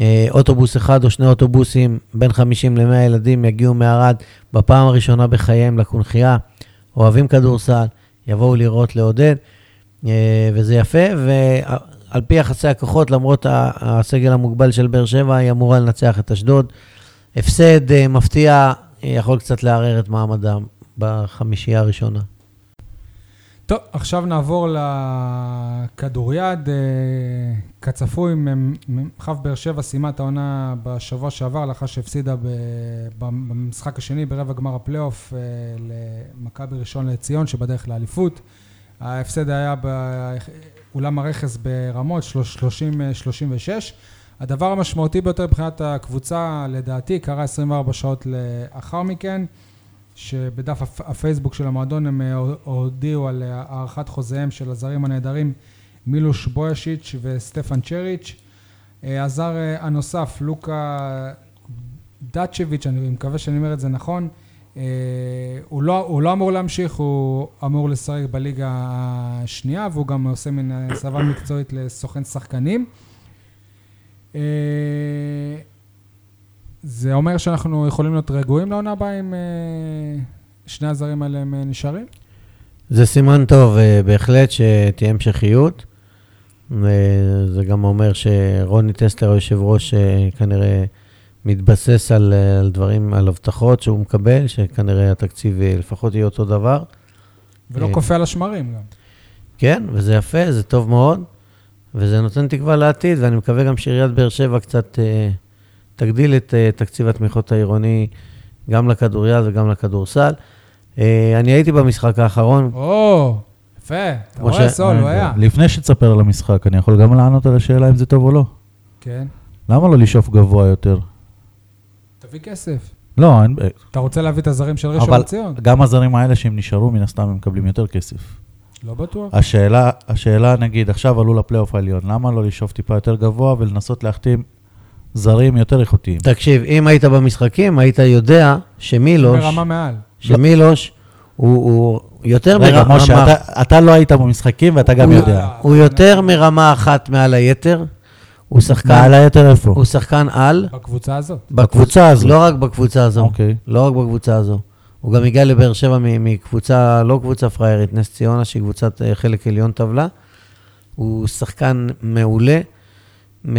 C: אה, אוטובוס אחד או שני אוטובוסים, בין 50 ל-100 ילדים יגיעו מערד בפעם הראשונה בחייהם לקונכייה. אוהבים כדורסל, יבואו לראות, לעודד, אה, וזה יפה. ועל פי יחסי הכוחות, למרות ה- הסגל המוגבל של באר שבע, היא אמורה לנצח את אשדוד. הפסד אה, מפתיע, אה, יכול קצת לערער את מעמדם בחמישייה הראשונה.
A: טוב, עכשיו נעבור לכדוריד. אה, כצפוי, מ- מ- מרחב באר שבע סיימה את העונה בשבוע שעבר, לאחר שהפסידה ב- במשחק השני ברבע גמר הפלייאוף אה, למכבי ראשון לציון שבדרך לאליפות. ההפסד היה באולם הרכס ברמות, שלוש- 30-36. הדבר המשמעותי ביותר מבחינת הקבוצה, לדעתי, קרה 24 שעות לאחר מכן. שבדף הפ- הפייסבוק של המועדון הם אה, הודיעו על אה, הארכת חוזיהם של הזרים הנהדרים מילוש בויאשיץ' וסטפן צ'ריץ'. אה, הזר אה, הנוסף, לוקה דאצ'ביץ', אני מקווה שאני אומר את זה נכון, אה, הוא לא, הוא לא אמור להמשיך, הוא אמור לשחק בליגה השנייה, והוא גם עושה מן הסבה מקצועית לסוכן שחקנים. אה, זה אומר שאנחנו יכולים להיות רגועים לעונה הבאה אם אה, שני הזרים האלה הם אה, נשארים?
C: זה סימן טוב, אה, בהחלט, שתהיה המשכיות. אה, זה גם אומר שרוני טסלר, היושב ראש, אה, כנראה מתבסס על, אה, על דברים, על הבטחות שהוא מקבל, שכנראה התקציב אה, לפחות יהיה אותו דבר.
A: ולא
C: אה.
A: קופא על השמרים גם.
C: כן, וזה יפה, זה טוב מאוד, וזה נותן תקווה לעתיד, ואני מקווה גם שעיריית באר שבע קצת אה, תגדיל את אה, תקציב התמיכות העירוני גם לכדוריד וגם לכדורסל. אה, אני הייתי במשחק האחרון,
A: או, יפה, אתה
C: אה, כמו
A: רואה
C: ש- אה,
A: סול, הוא היה.
B: לפני שתספר על המשחק, אני יכול גם לענות על השאלה אם זה טוב או לא.
A: כן,
B: למה לא לשאוף גבוה יותר?
A: תביא כסף.
B: לא, אין-
A: אתה רוצה להביא את הזרים של ראשון
B: אבל-
A: לציון?
B: גם הזרים האלה שהם נשארו, מן הסתם הם מקבלים יותר כסף.
A: לא
C: אה,
A: בטוח.
B: השאלה, השאלה נגיד, עכשיו עלו לפלייאוף העליון, למה לא לשאוף טיפה יותר גבוה ולנסות להחתים זרים יותר איכותיים?
C: תקשיב, אם היית במשחקים, היית יודע שמילוש,
A: ברמה מעל.
C: שמילוש הוא, הוא יותר
B: רגע,
C: מרמה,
B: משה, אתה- אתה לא היית במשחקים ואתה גם
C: הוא-
B: יודע.
C: הוא יותר מרמה אחת מעל היתר, הוא שחקן,
B: קהל היתר איפה?
C: הוא שחקן על,
A: בקבוצה הזאת.
B: בקבוצה הזו.
C: לא רק בקבוצה הזו.
B: אוקיי.
C: לא רק בקבוצה הזו. הוא גם הגיע לבאר שבע מ- מקבוצה, לא קבוצה פראיירית, נס ציונה, שהיא קבוצת אה, חלק עליון טבלה. הוא שחקן מעולה, מ-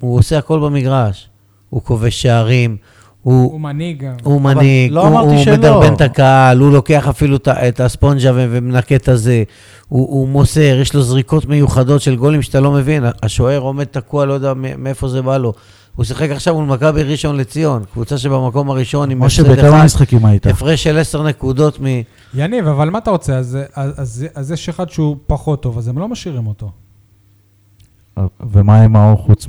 C: הוא עושה הכל במגרש. הוא כובש שערים, הוא,
A: הוא מנהיג גם.
C: הוא מנהיג,
B: לא
C: הוא,
B: אמרתי
C: הוא
B: שלא.
C: מדרבן את הקהל, הוא לוקח אפילו את ה- את הספונג'ה ו- ומנקה את הזה, הוא, הוא מוסר, יש לו זריקות מיוחדות של גולים שאתה לא מבין, השוער עומד תקוע, לא יודע מ- מאיפה זה בא לו. הוא שיחק עכשיו מול מכבי ראשון לציון, קבוצה שבמקום הראשון עם
B: משה, לא
C: הפסד
B: בכמה
C: אחד,
B: משחקים היית?
C: הפרש של 10 נקודות מ...
A: יניב, אבל מה אתה רוצה? אז- אז אז- אז יש אחד שהוא פחות טוב, אז הם לא משאירים אותו.
D: ומה עם האור חוץ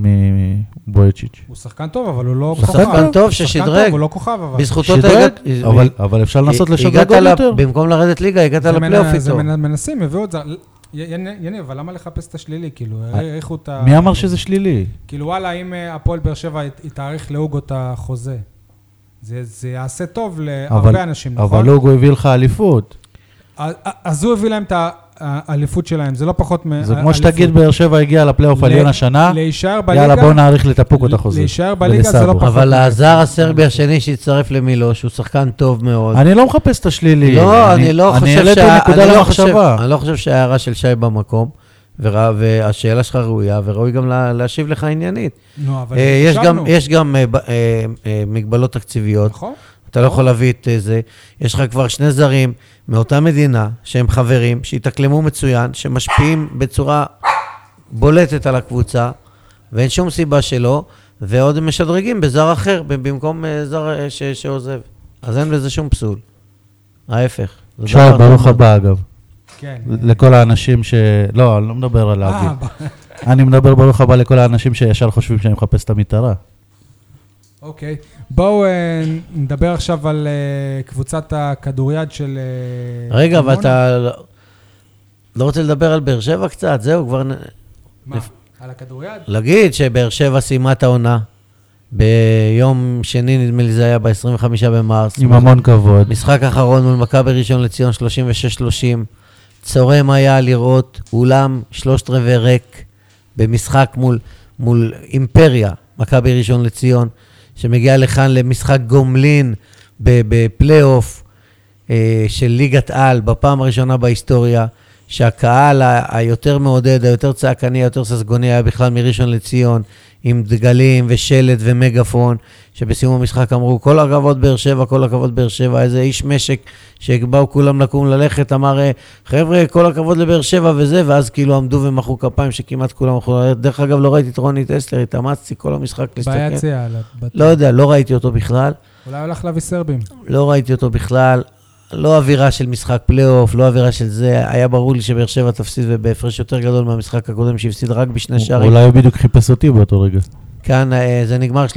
D: מבויצ'יץ'?
A: הוא שחקן טוב, אבל הוא לא
B: הוא
A: כוכב.
B: שחקן
C: טוב
A: הוא שחקן
C: ששדרג.
A: טוב, הוא לא כוכב, אבל...
C: בזכותו אתה
B: שדרג,
C: הגעת... אה,
B: אבל- לא אבל אפשר לנסות לשדרג עוד יותר.
C: במקום לרדת ליגה, הגעת
A: זה
C: לפלייאוף
A: מנ- זה
C: איתו.
A: מנ- מנסים, הביאו את זה. י- יניב, יניב, אבל למה לחפש את השלילי? כאילו, העריכו את ה...
D: מי אמר שזה שלילי?
A: כאילו, וואלה, אם אה, הפועל באר שבע ית- יתאריך להוגו את החוזה, זה זה יעשה טוב
B: אבל-
A: להרבה אנשים, נכון?
B: אבל לא- אוגו הביא לך אליפות.
A: אז- אז הוא הביא להם את ה- האליפות שלהם, זה לא פחות מ...
D: זה כמו
A: אליפות.
D: שתגיד, באר שבע הגיעה לפלייאוף
A: ל-
D: עליון השנה,
A: להישאר בליגה...
D: יאללה, בוא נאריך לטפוקו את החוזה.
A: להישאר בליגה זה לא
D: ולסאבו.
A: פחות.
C: אבל הזר הסרבי השני שהצטרף למילוש, הוא שחקן טוב מאוד.
D: אני לא מחפש את השלילי.
C: לא, אני לא חושב
D: אני העליתי
C: שה-
D: נקודה
C: אני לא
D: למחשבה.
C: חושב- אני לא חושב שההערה של שי במקום, ורא- והשאלה שלך ראויה, וראוי גם לה- להשיב לך עניינית.
A: נו, אבל
C: אה, יש
A: חשבנו.
C: גם- יש גם אה, ב- אה, אה, מגבלות תקציביות,
A: נכון?
C: אתה לא יכול להביא את אה, זה. יש לך כבר שני זרים מאותה מדינה, שהם חברים, שהתאקלמו מצוין, שמשפיעים בצורה בולטת על הקבוצה, ואין שום סיבה שלא, ועוד הם משדרגים בזר אחר, ב- במקום אה, זר אה, ש- שעוזב. אז אין בזה שום פסול. ההפך. זה
B: שי,
C: דבר
B: ברוך
C: נכון.
B: הבא אגב.
A: כן.
B: לכל האנשים ש... לא, אני לא מדבר על
A: אה,
B: האביב.
A: ב-
B: אני מדבר ברוך הבא לכל האנשים שישר חושבים שאני מחפש את המטרה.
A: אוקיי. בואו אה, נדבר עכשיו על אה, קבוצת הכדוריד של... אה,
C: רגע, אבל
A: דימונה.
C: אתה לא- לא רוצה לדבר על באר שבע קצת? זהו, כבר... נ-
A: מה? על הכדוריד?
C: להגיד שבאר שבע סיימה את העונה ביום שני, נדמה לי זה היה ב-25 במרס.
B: עם המון כבוד.
C: משחק אחרון מול מכבי ראשון לציון, 36-30. צורם היה לראות אולם שלושת רבעי ריק במשחק מול, מול אימפריה, מכבי ראשון לציון, שמגיעה לכאן למשחק גומלין ב- בפלייאוף אה, של ליגת על, בפעם הראשונה בהיסטוריה, שהקהל ה- היותר מעודד, היותר צעקני, היותר ססגוני היה בכלל מראשון לציון, עם דגלים ושלט ומגפון, שבסיום המשחק אמרו, כל הכבוד באר שבע, כל הכבוד באר שבע, איזה איש משק שבאו כולם לקום ללכת, אמר, "אה, חבר'ה, כל הכבוד לבאר שבע וזה, ואז כאילו עמדו ומחאו כפיים, שכמעט כולם מחאו, ללכת. דרך אגב, לא ראיתי את רוני טסלר, התאמצתי כל המשחק להסתכל.
A: ביציע. על הבת-
C: לא יודע, לא ראיתי אותו בכלל.
A: אולי הולך להביא סרבים.
C: לא ראיתי אותו בכלל. לא אווירה של משחק פלייאוף, לא אווירה של זה. היה ברור לי שבאר שבע תפסיד ובהפרש יותר גדול מהמשחק הקודם שהפסיד רק בשני שערים.
B: אולי הוא בדיוק חיפש אותי באותו רגע.
C: כאן אה, זה נגמר 36-30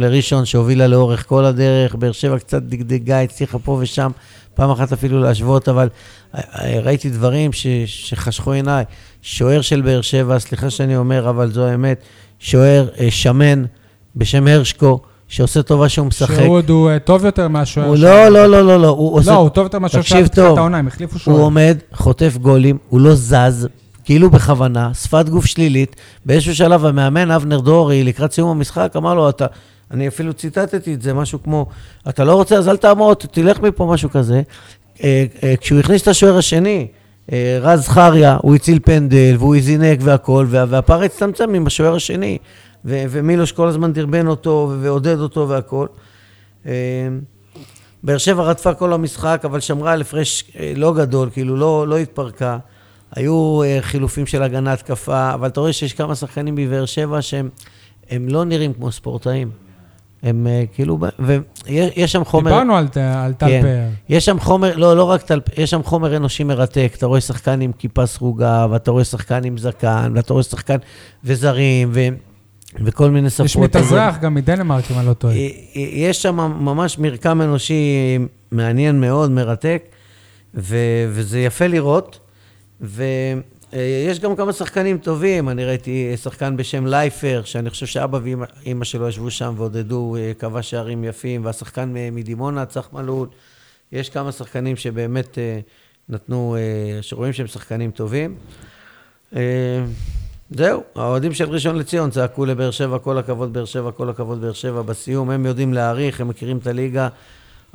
C: לראשון, שהובילה לאורך כל הדרך. באר שבע קצת דגדגה, הצליחה פה ושם, פעם אחת אפילו להשוות, אבל אה, אה, ראיתי דברים ש, שחשכו עיניי. שוער של באר שבע, סליחה שאני אומר, אבל זו האמת, שוער אה, שמן בשם הרשקו, שעושה טובה שהוא משחק.
A: שהוא עוד הוא אה, טוב יותר מהשוער.
C: הוא
A: של-
C: לא, לא, לא, לא, לא, הוא עושה...
A: לא, הוא טוב יותר מהשוער
C: תקשיב
A: שהיה בתחילת
C: טוב.
A: העונה, הם החליפו
C: הוא
A: שוער.
C: עומד, חוטף גולים, הוא לא זז, כאילו בכוונה, שפת גוף שלילית. באיזשהו שלב המאמן, אבנר דורי, לקראת סיום המשחק, אמר לו, אתה... אני אפילו ציטטתי את זה, משהו כמו, אתה לא רוצה, אז אל תעמוד, תלך מפה, משהו כזה. אה, אה, כשהוא הכניס את השוער השני, אה, רז זכריה, הוא הציל פנדל, והוא זינק והכול, וה, והפער הצטמצם עם השוער השני. ו, ומילוש כל הזמן דרבן אותו, ו- ועודד אותו והכול. אה, באר שבע רדפה כל המשחק, אבל שמרה על הפרש אה, לא גדול, כאילו לא, לא התפרקה. היו אה, חילופים של הגנה התקפה, אבל אתה רואה שיש כמה שחקנים בבאר שבע שהם הם לא נראים כמו ספורטאים. הם אה, כאילו, ב- ויש יש שם חומר...
A: דיברנו על ת- על טל
C: כן.
A: פאר.
C: יש שם חומר, לא, לא רק טל, יש שם חומר אנושי מרתק. אתה רואה שחקן עם כיפה סרוגה, ואתה רואה שחקן עם זקן, ואתה רואה שחקן וזרים, ו, וכל מיני שפות.
A: יש מתאזרח גם מדנמרק, אם אני לא טועה.
C: אה, אה, יש שם ממש מרקם אנושי מעניין מאוד, מרתק, ו, וזה יפה לראות. ויש גם כמה שחקנים טובים, אני ראיתי שחקן בשם לייפר, שאני חושב שאבא ואימא שלו ישבו שם ועודדו, אה, כבש שערים יפים, והשחקן מ- מדימונה, צח מלול. יש כמה שחקנים שבאמת אה, נתנו, אה, שרואים שהם שחקנים טובים. אה, זהו, האוהדים של ראשון לציון צעקו לבאר שבע, כל הכבוד באר שבע, כל הכבוד באר שבע. בסיום הם יודעים להעריך, הם מכירים את הליגה.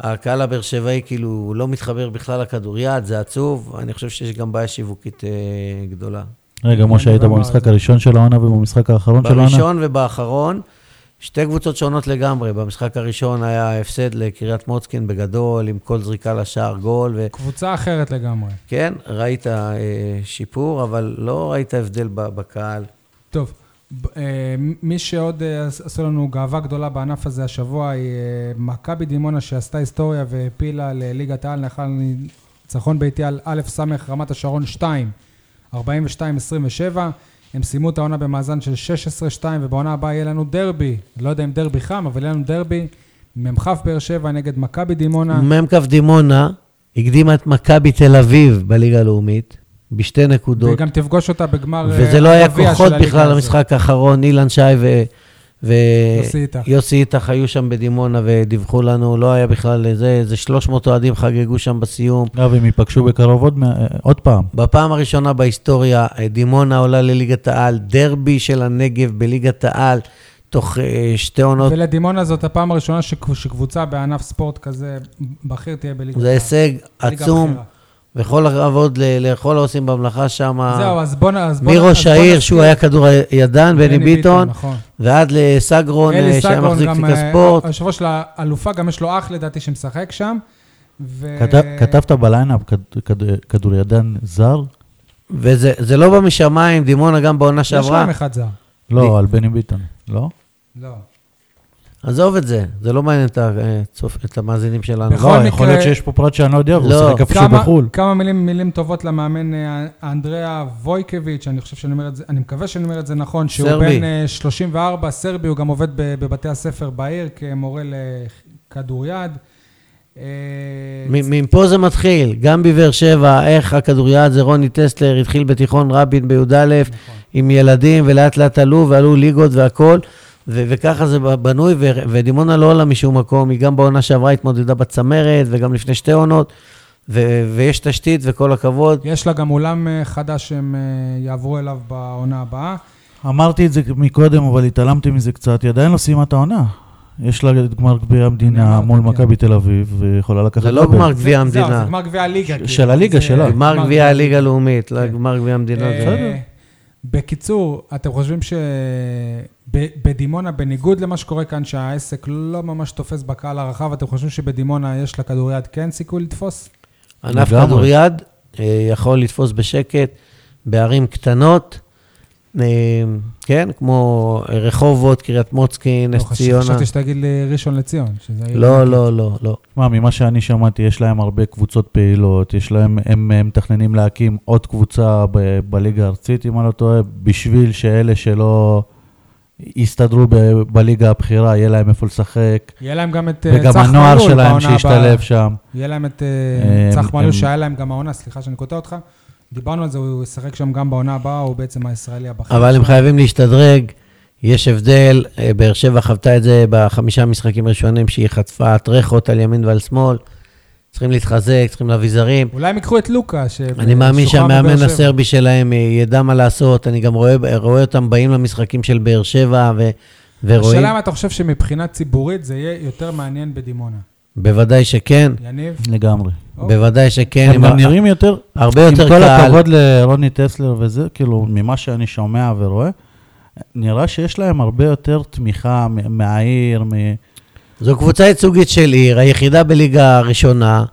C: הקהל הבאר שבעי כאילו לא מתחבר בכלל לכדוריד, זה עצוב. אני חושב שיש גם בעיה שיווקית אה, גדולה.
B: רגע, משה, היית
A: דיברנו על
B: במשחק
A: זה.
B: הראשון של העונה ובמשחק האחרון של העונה?
C: בראשון ובאחרון, שתי קבוצות שונות לגמרי. במשחק הראשון היה הפסד לקריית מוצקין בגדול, עם כל זריקה לשער גול, ו...
A: קבוצה אחרת לגמרי.
C: כן, ראית אה, שיפור, אבל לא ראית הבדל ב- בקהל.
A: טוב, ב- אה, מי שעוד אה, עש- עשו לנו גאווה גדולה בענף הזה השבוע היא אה, מכבי דימונה שעשתה היסטוריה והעפילה לליגת העל לאחר ניצחון ביתי על א' ס' רמת השרון 2, 42-27. הם סיימו את העונה במאזן של 16-2, ובעונה הבאה יהיה לנו דרבי. לא יודע אם דרבי חם, אבל יהיה לנו דרבי. מ"כ באר שבע נגד מכבי דימונה.
C: מ"כ דימונה הקדימה את מכבי תל אביב בליגה הלאומית, בשתי
A: והיא
C: נקודות,
A: גם תפגוש אותה בגמר אה,
C: וזה לא היה
A: הגביע של
C: כוחות
A: הליגה
C: בכלל
A: הזאת.
C: למשחק האחרון, אילן שי ו... ו...
A: יוסי איתך.
C: יוסי איתך היו שם בדימונה ודיווחו לנו, לא היה בכלל זה, איזה 300 אוהדים חגגו שם בסיום.
B: אגב, הם ייפגשו בקרוב עוד מה- עוד פעם.
C: בפעם הראשונה בהיסטוריה, אה, דימונה עולה לליגת העל, דרבי של הנגב בליגת העל, תוך אה, שתי עונות.
A: ולדימונה זאת הפעם הראשונה שק- שקבוצה בענף ספורט כזה בכיר תהיה בליגה.
C: זה הישג
A: ליגה
C: עצום,
A: בכירה.
C: וכל הכבוד ל- לכל העושים במלאכה שם.
A: זהו, אז בוא נ... אז בוא נ-
C: מראש
A: אז בוא
C: העיר,
A: נזכיר-
C: שהוא היה כדורידן, בני ביטון,
A: נכון.
C: ועד לסגרון, אה,
A: אלי
C: שהיה
A: סגרון
C: מחזיק
A: גם,
C: תיק
A: אה,
C: הספורט.
A: היושב ראש לאלופה, גם יש לו אח לדעתי שמשחק שם. ו-
C: אה,
B: כתב- כתבת בליינאפ כד- כד- כדורידן זר?
C: וזה זה לא בא משמיים, דימונה גם בעונה
A: יש להם
C: שעברה.
A: אחד זר.
B: לא, על בני ביטון, לא?
A: לא.
C: עזוב את זה, זה לא מעניין את ה- אה, צופ- את המאזינים שלנו.
A: בכל
B: לא,
A: מקרה-
B: יכול להיות שיש פה פרט שאני לא יודע, והוא
C: לא.
B: שיחק איפשהו
A: כמה-
B: בחו"ל.
A: כמה מילים, מילים טובות למאמן אה, אנדריאה וויקביץ', אני חושב שאני אומר את זה, אני מקווה שאני אומר את זה נכון, שהוא
C: סרבי.
A: בן אה, 34, סרבי, הוא גם עובד ב- בבתי הספר בעיר כמורה לכדוריד. אה,
C: מ- מפה זה מתחיל, גם בבאר שבע, איך הכדוריד זה רוני טסלר, התחיל בתיכון רבין בי"א עם ילדים, ולאט לאט עלו, ועלו ליגות והכול, ו- וככה זה בנוי, ו- ודימונה לא עולה משום מקום, היא גם בעונה שעברה התמודדה בצמרת, וגם לפני שתי עונות, ו- ויש תשתית, וכל הכבוד.
A: יש לה גם אולם אה, חדש שהם אה, יעברו אליו בעונה הבאה.
B: אמרתי את זה מקודם, אבל התעלמתי מזה קצת, היא עדיין לא סיימה את העונה. יש לה את גמר גביע המדינה
A: אמרתי,
B: מול
A: כן.
B: מכבי תל אביב, ויכולה לקחת...
C: לא זה לא
B: דאבל.
C: גמר גביע
A: זהו, זה
C: המדינה,
A: גמר גביע הליגה.
B: של
A: כאילו.
B: הליגה
A: זה-
B: שלה.
C: גמר גביע הליגה הלאומית, לא גמר גביע המדינה.
A: אה,
C: זה-
A: בקיצור, אתם חושבים שבדימונה, בניגוד למה שקורה כאן, שהעסק לא ממש תופס בקהל הרחב, אתם חושבים שבדימונה יש לכדוריד כן סיכוי לתפוס?
C: ענף
B: לגמרי.
C: כדוריד אה, יכול לתפוס בשקט בערים קטנות, אה, כן, כמו רחובות, קריית מוצקי,
A: לא,
C: נס
A: חשב-
C: ציונה.
A: חשבתי שתגיד לי ראשון לציון. שזה עיר-
C: לא, לא, לא, לא.
B: מה, ממה שאני שמעתי, יש להם הרבה קבוצות פעילות, יש להם, הם הם מתכננים להקים עוד קבוצה ב, בליגה הארצית, אם אני לא טועה, בשביל שאלה שלא יסתדרו ב, בליגה הבכירה, יהיה להם איפה לשחק,
A: יהיה להם גם את אה,
B: וגם
A: צח
B: הנוער
A: מלול
B: שלהם
A: בעונה הבאה.
B: שישתלב שם.
A: יהיה להם את אה,
B: הם-
A: צח מלול,
B: הם-
A: שהיה להם גם העונה, סליחה שאני קוטע אותך. דיברנו על זה, הוא ישחק שם גם בעונה הבאה, הוא בעצם הישראלי הבכיר.
C: אבל הם חייבים להשתדרג, יש הבדל, אה, באר שבע חוותה את זה בחמישה משחקים הראשונים שהיא חטפה טרחות על ימין ועל שמאל, צריכים להתחזק, צריכים להביא זרים.
A: אולי הם ייקחו את לוקה, ש-
C: אני מאמין
A: ששוחרר מבאר
C: שהמאמן
A: אה, שבע.
C: הסרבי שלהם אה, ידע מה לעשות, אני גם רואה, רואה אותם באים למשחקים של באר שבע ו, ורואים,
A: השאלה אם אתה חושב שמבחינה ציבורית זה יהיה יותר מעניין בדימונה.
C: בוודאי שכן,
A: יניב?
B: לגמרי.
A: אוקיי.
C: בוודאי שכן,
B: הם
C: הם
B: גם
C: ה-
B: נראים יותר,
C: הרבה
B: עם
C: כן, יותר
B: כל
C: קהל,
B: הכבוד לרוני טסלר וזה, כאילו, ממה שאני שומע ורואה, נראה שיש להם הרבה יותר תמיכה מ- מהעיר, מ...
C: זו קבוצה ייצוגית של עיר, היחידה בליגה הראשונה,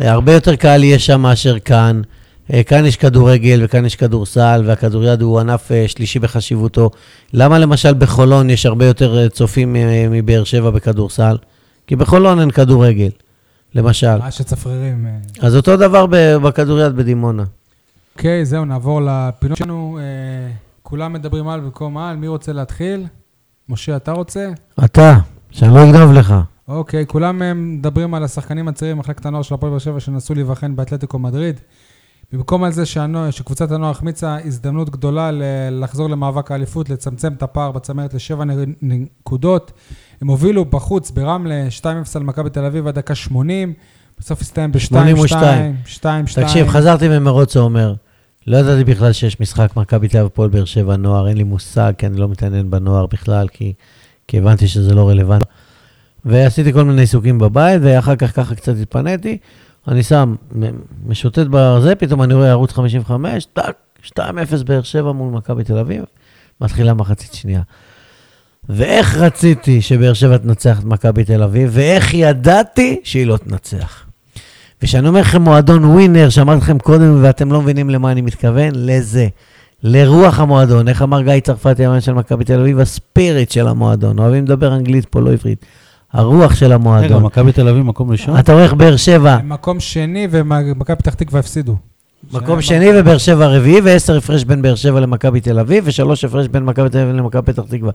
C: אה, הרבה יותר קהל יהיה שם מאשר כאן, אה, כאן יש כדורגל וכאן יש כדורסל, והכדוריד הוא ענף אה, שלישי בחשיבותו. למה למשל בחולון יש הרבה יותר אה, צופים אה, מבאר שבע בכדורסל? כי בחולון אין כדורגל, למשל.
A: ממש הצפרירים. אה.
C: אז אותו דבר ב- בכדוריד בדימונה.
A: אוקיי, זהו, נעבור לפינות שלנו. אה, כולם מדברים על במקום על, מי רוצה להתחיל? משה, אתה רוצה?
C: אתה, שאני לא אגנוב לך.
A: אוקיי, כולם אה, מדברים על השחקנים הצעירים במחלקת הנוער של הפועל באר שבע שנסעו להיבחן באתלטיקו מדריד. במקום על זה שהנוע, שקבוצת הנוער החמיצה הזדמנות גדולה ל- לחזור למאבק האליפות, לצמצם את הפער בצמרת לשבע נ- נקודות. הם הובילו בחוץ ברמלה 2-0 על מכבי תל אביב עד דקה 80, בסוף הסתיים ב-2-2,
C: 82.
A: 2-2.
C: תקשיב, חזרתי ממרוץ העומר. לא ידעתי בכלל שיש משחק מכבי תל אביב הפועל באר שבע נוער, אין לי מושג, כי אני לא מתעניין בנוער בכלל, כי, כי הבנתי שזה לא רלוונטי. ועשיתי כל מיני עיסוקים בבית, ואחר כך ככה קצת התפניתי. אני שם, מ- משוטט בזה, פתאום אני רואה ערוץ 55, טאק, 2-0 באר שבע מול מכבי תל אביב, מתחילה מחצית שנייה. ואיך רציתי שבאר שבע תנצח את מכבי תל אביב, ואיך ידעתי שהיא לא תנצח. וכשאני אומר לכם מועדון ווינר, שאמרתי לכם קודם ואתם לא מבינים למה אני מתכוון, לזה. לרוח המועדון. איך אמר גיא צרפתי, המאמן של מכבי תל אביב? הספיריט של המועדון. אוהבים לדבר אנגלית פה, לא עברית. הרוח של
B: רגע,
C: המועדון.
B: מכבי תל אביב מקום ראשון?
C: אתה רואה איך באר שבע,
A: מקום שני, ומכבי פתח תקווה הפסידו.
C: מקום
A: שהם-
C: שני ובאר שבע רביעי, ועשר הפרש בין באר שבע למכבי תל אביב, ושלוש הפרש בין מכבי תל אביב למכבי פתח תקווה.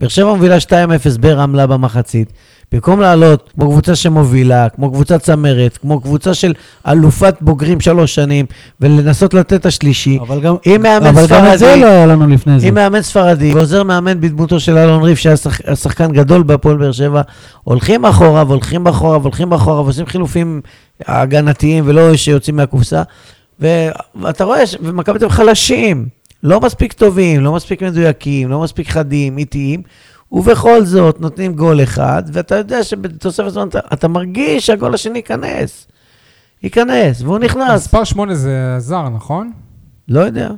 C: באר שבע מובילה 2-0 ברמלה במחצית. במקום לעלות כמו קבוצה שמובילה, כמו קבוצת צמרת, כמו קבוצה של אלופת בוגרים שלוש שנים, ולנסות לתת את השלישי,
B: אבל גם
C: אם מאמן
B: אבל גם את זה
C: ספרדי,
B: לא היה לנו לפני זה.
C: אם מאמן ספרדי ועוזר מאמן בדמותו של אלון ריף, שהיה שח- שחקן גדול בהפועל באר שבע, הולכים אחורה והולכים אחורה והולכים אחורה ועושים חילופים הגנתיים ולא שיוצאים מהקופסה. ו- ואתה רואה, ש- ומכבי תל אביב חלשים, לא מספיק טובים, לא מספיק מדויקים, לא מספיק חדים, איטיים, ובכל זאת נותנים גול אחד, ואתה יודע שבתוספת זמן אתה, אתה מרגיש שהגול השני ייכנס. ייכנס, והוא נכנס.
A: מספר שמונה זה זר, נכון? אה,
C: לא יודע.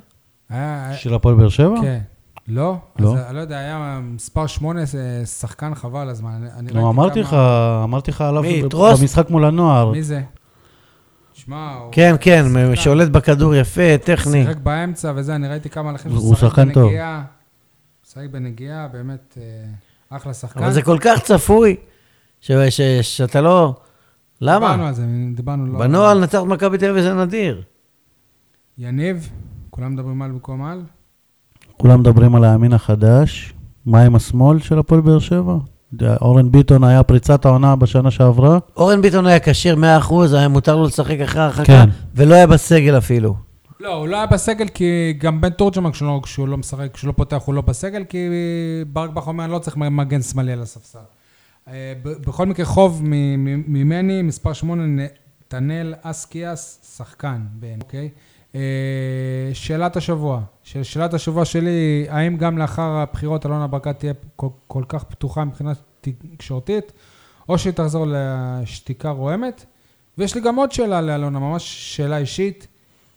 A: היה-
B: של הפועל באר שבע?
A: כן. לא?
B: לא.
A: אז אני לא יודע, היה מספר שמונה, זה שחקן חבל על הזמן. אני- אני
B: נו,
A: ראיתי
B: אמרתי
A: כמה-
B: לך, אמרתי לך עליו
C: מי,
B: ב-
C: טרוס?
B: במשחק מול הנוער.
A: מי זה? שמע, הוא
C: כן, כן, שולט בכדור יפה, טכני.
A: שיחק באמצע וזה, אני ראיתי כמה הלכים
B: הוא שחקן טוב.
A: שיחק בנגיעה, באמת אה, אחלה שחקן.
C: אבל זה כל כך צפוי, ש- ש- שאתה לא...
A: דיברנו
C: למה?
A: על זה, דיברנו לא...
C: בנוהל נצח את מכבי תל אביב זה נדיר.
A: יניב, כולם מדברים על במקום על?
B: כולם מדברים על הימין החדש, מה עם השמאל של הפועל באר שבע? יודע, אורן ביטון היה פריצת העונה בשנה שעברה,
C: אורן ביטון היה כשיר 100%, היה מותר לו לשחק אחרי הרחקה,
B: כן.
C: ולא היה בסגל אפילו.
A: לא, הוא לא היה בסגל כי גם בן תורג'מן כשהוא לא- כשהוא לא משחק, כשהוא לא פותח הוא לא בסגל, כי ברק בכר אומר, אני לא צריך מגן שמאלי על הספסל. אה, ב- בכל מקרה, חוב מ- מ- ממני, מספר שמונה, נתנאל אסקיאס, שחקן בעיני, אוקיי? אה, שאלת השבוע, של- שאלת השבוע שלי, האם גם לאחר הבחירות אלונה ברקת תהיה כל, כל כך פתוחה מבחינה תקשורתית, או שהיא תחזור לשתיקה רועמת? ויש לי גם עוד שאלה לאלונה, ממש שאלה אישית.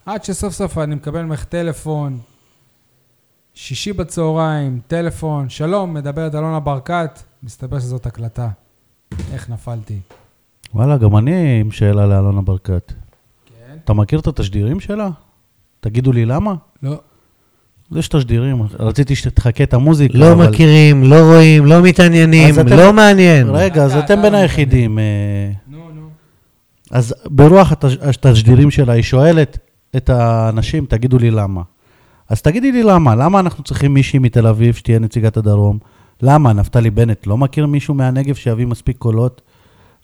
A: עד שסוף סוף אני מקבל ממך טלפון, שישי בצהריים, טלפון, שלום, מדברת אלונה ברקת, מסתבר שזאת הקלטה. איך נפלתי.
B: וואלה, גם אני עם שאלה לאלונה ברקת.
A: כן.
B: אתה מכיר את התשדירים שלה? תגידו לי למה?
A: לא.
B: יש תשדירים, רציתי שתחכה את המוזיקה,
C: לא
B: אבל-
C: מכירים, לא רואים, לא מתעניינים,
B: אז אתם-
C: לא מעניין.
B: רגע, אז
A: אתה-
B: אתם
A: אתה
B: בין
A: לא
B: היחידים. אה,
A: נו, נו.
B: אז ברוח התש- התשדירים שלה, היא שואלת את האנשים, תגידו לי למה. אז תגידי לי למה, למה אנחנו צריכים מישהי מתל אביב שתהיה נציגת הדרום? למה, נפתלי בנט לא מכיר מישהו מהנגב שיביא מספיק קולות?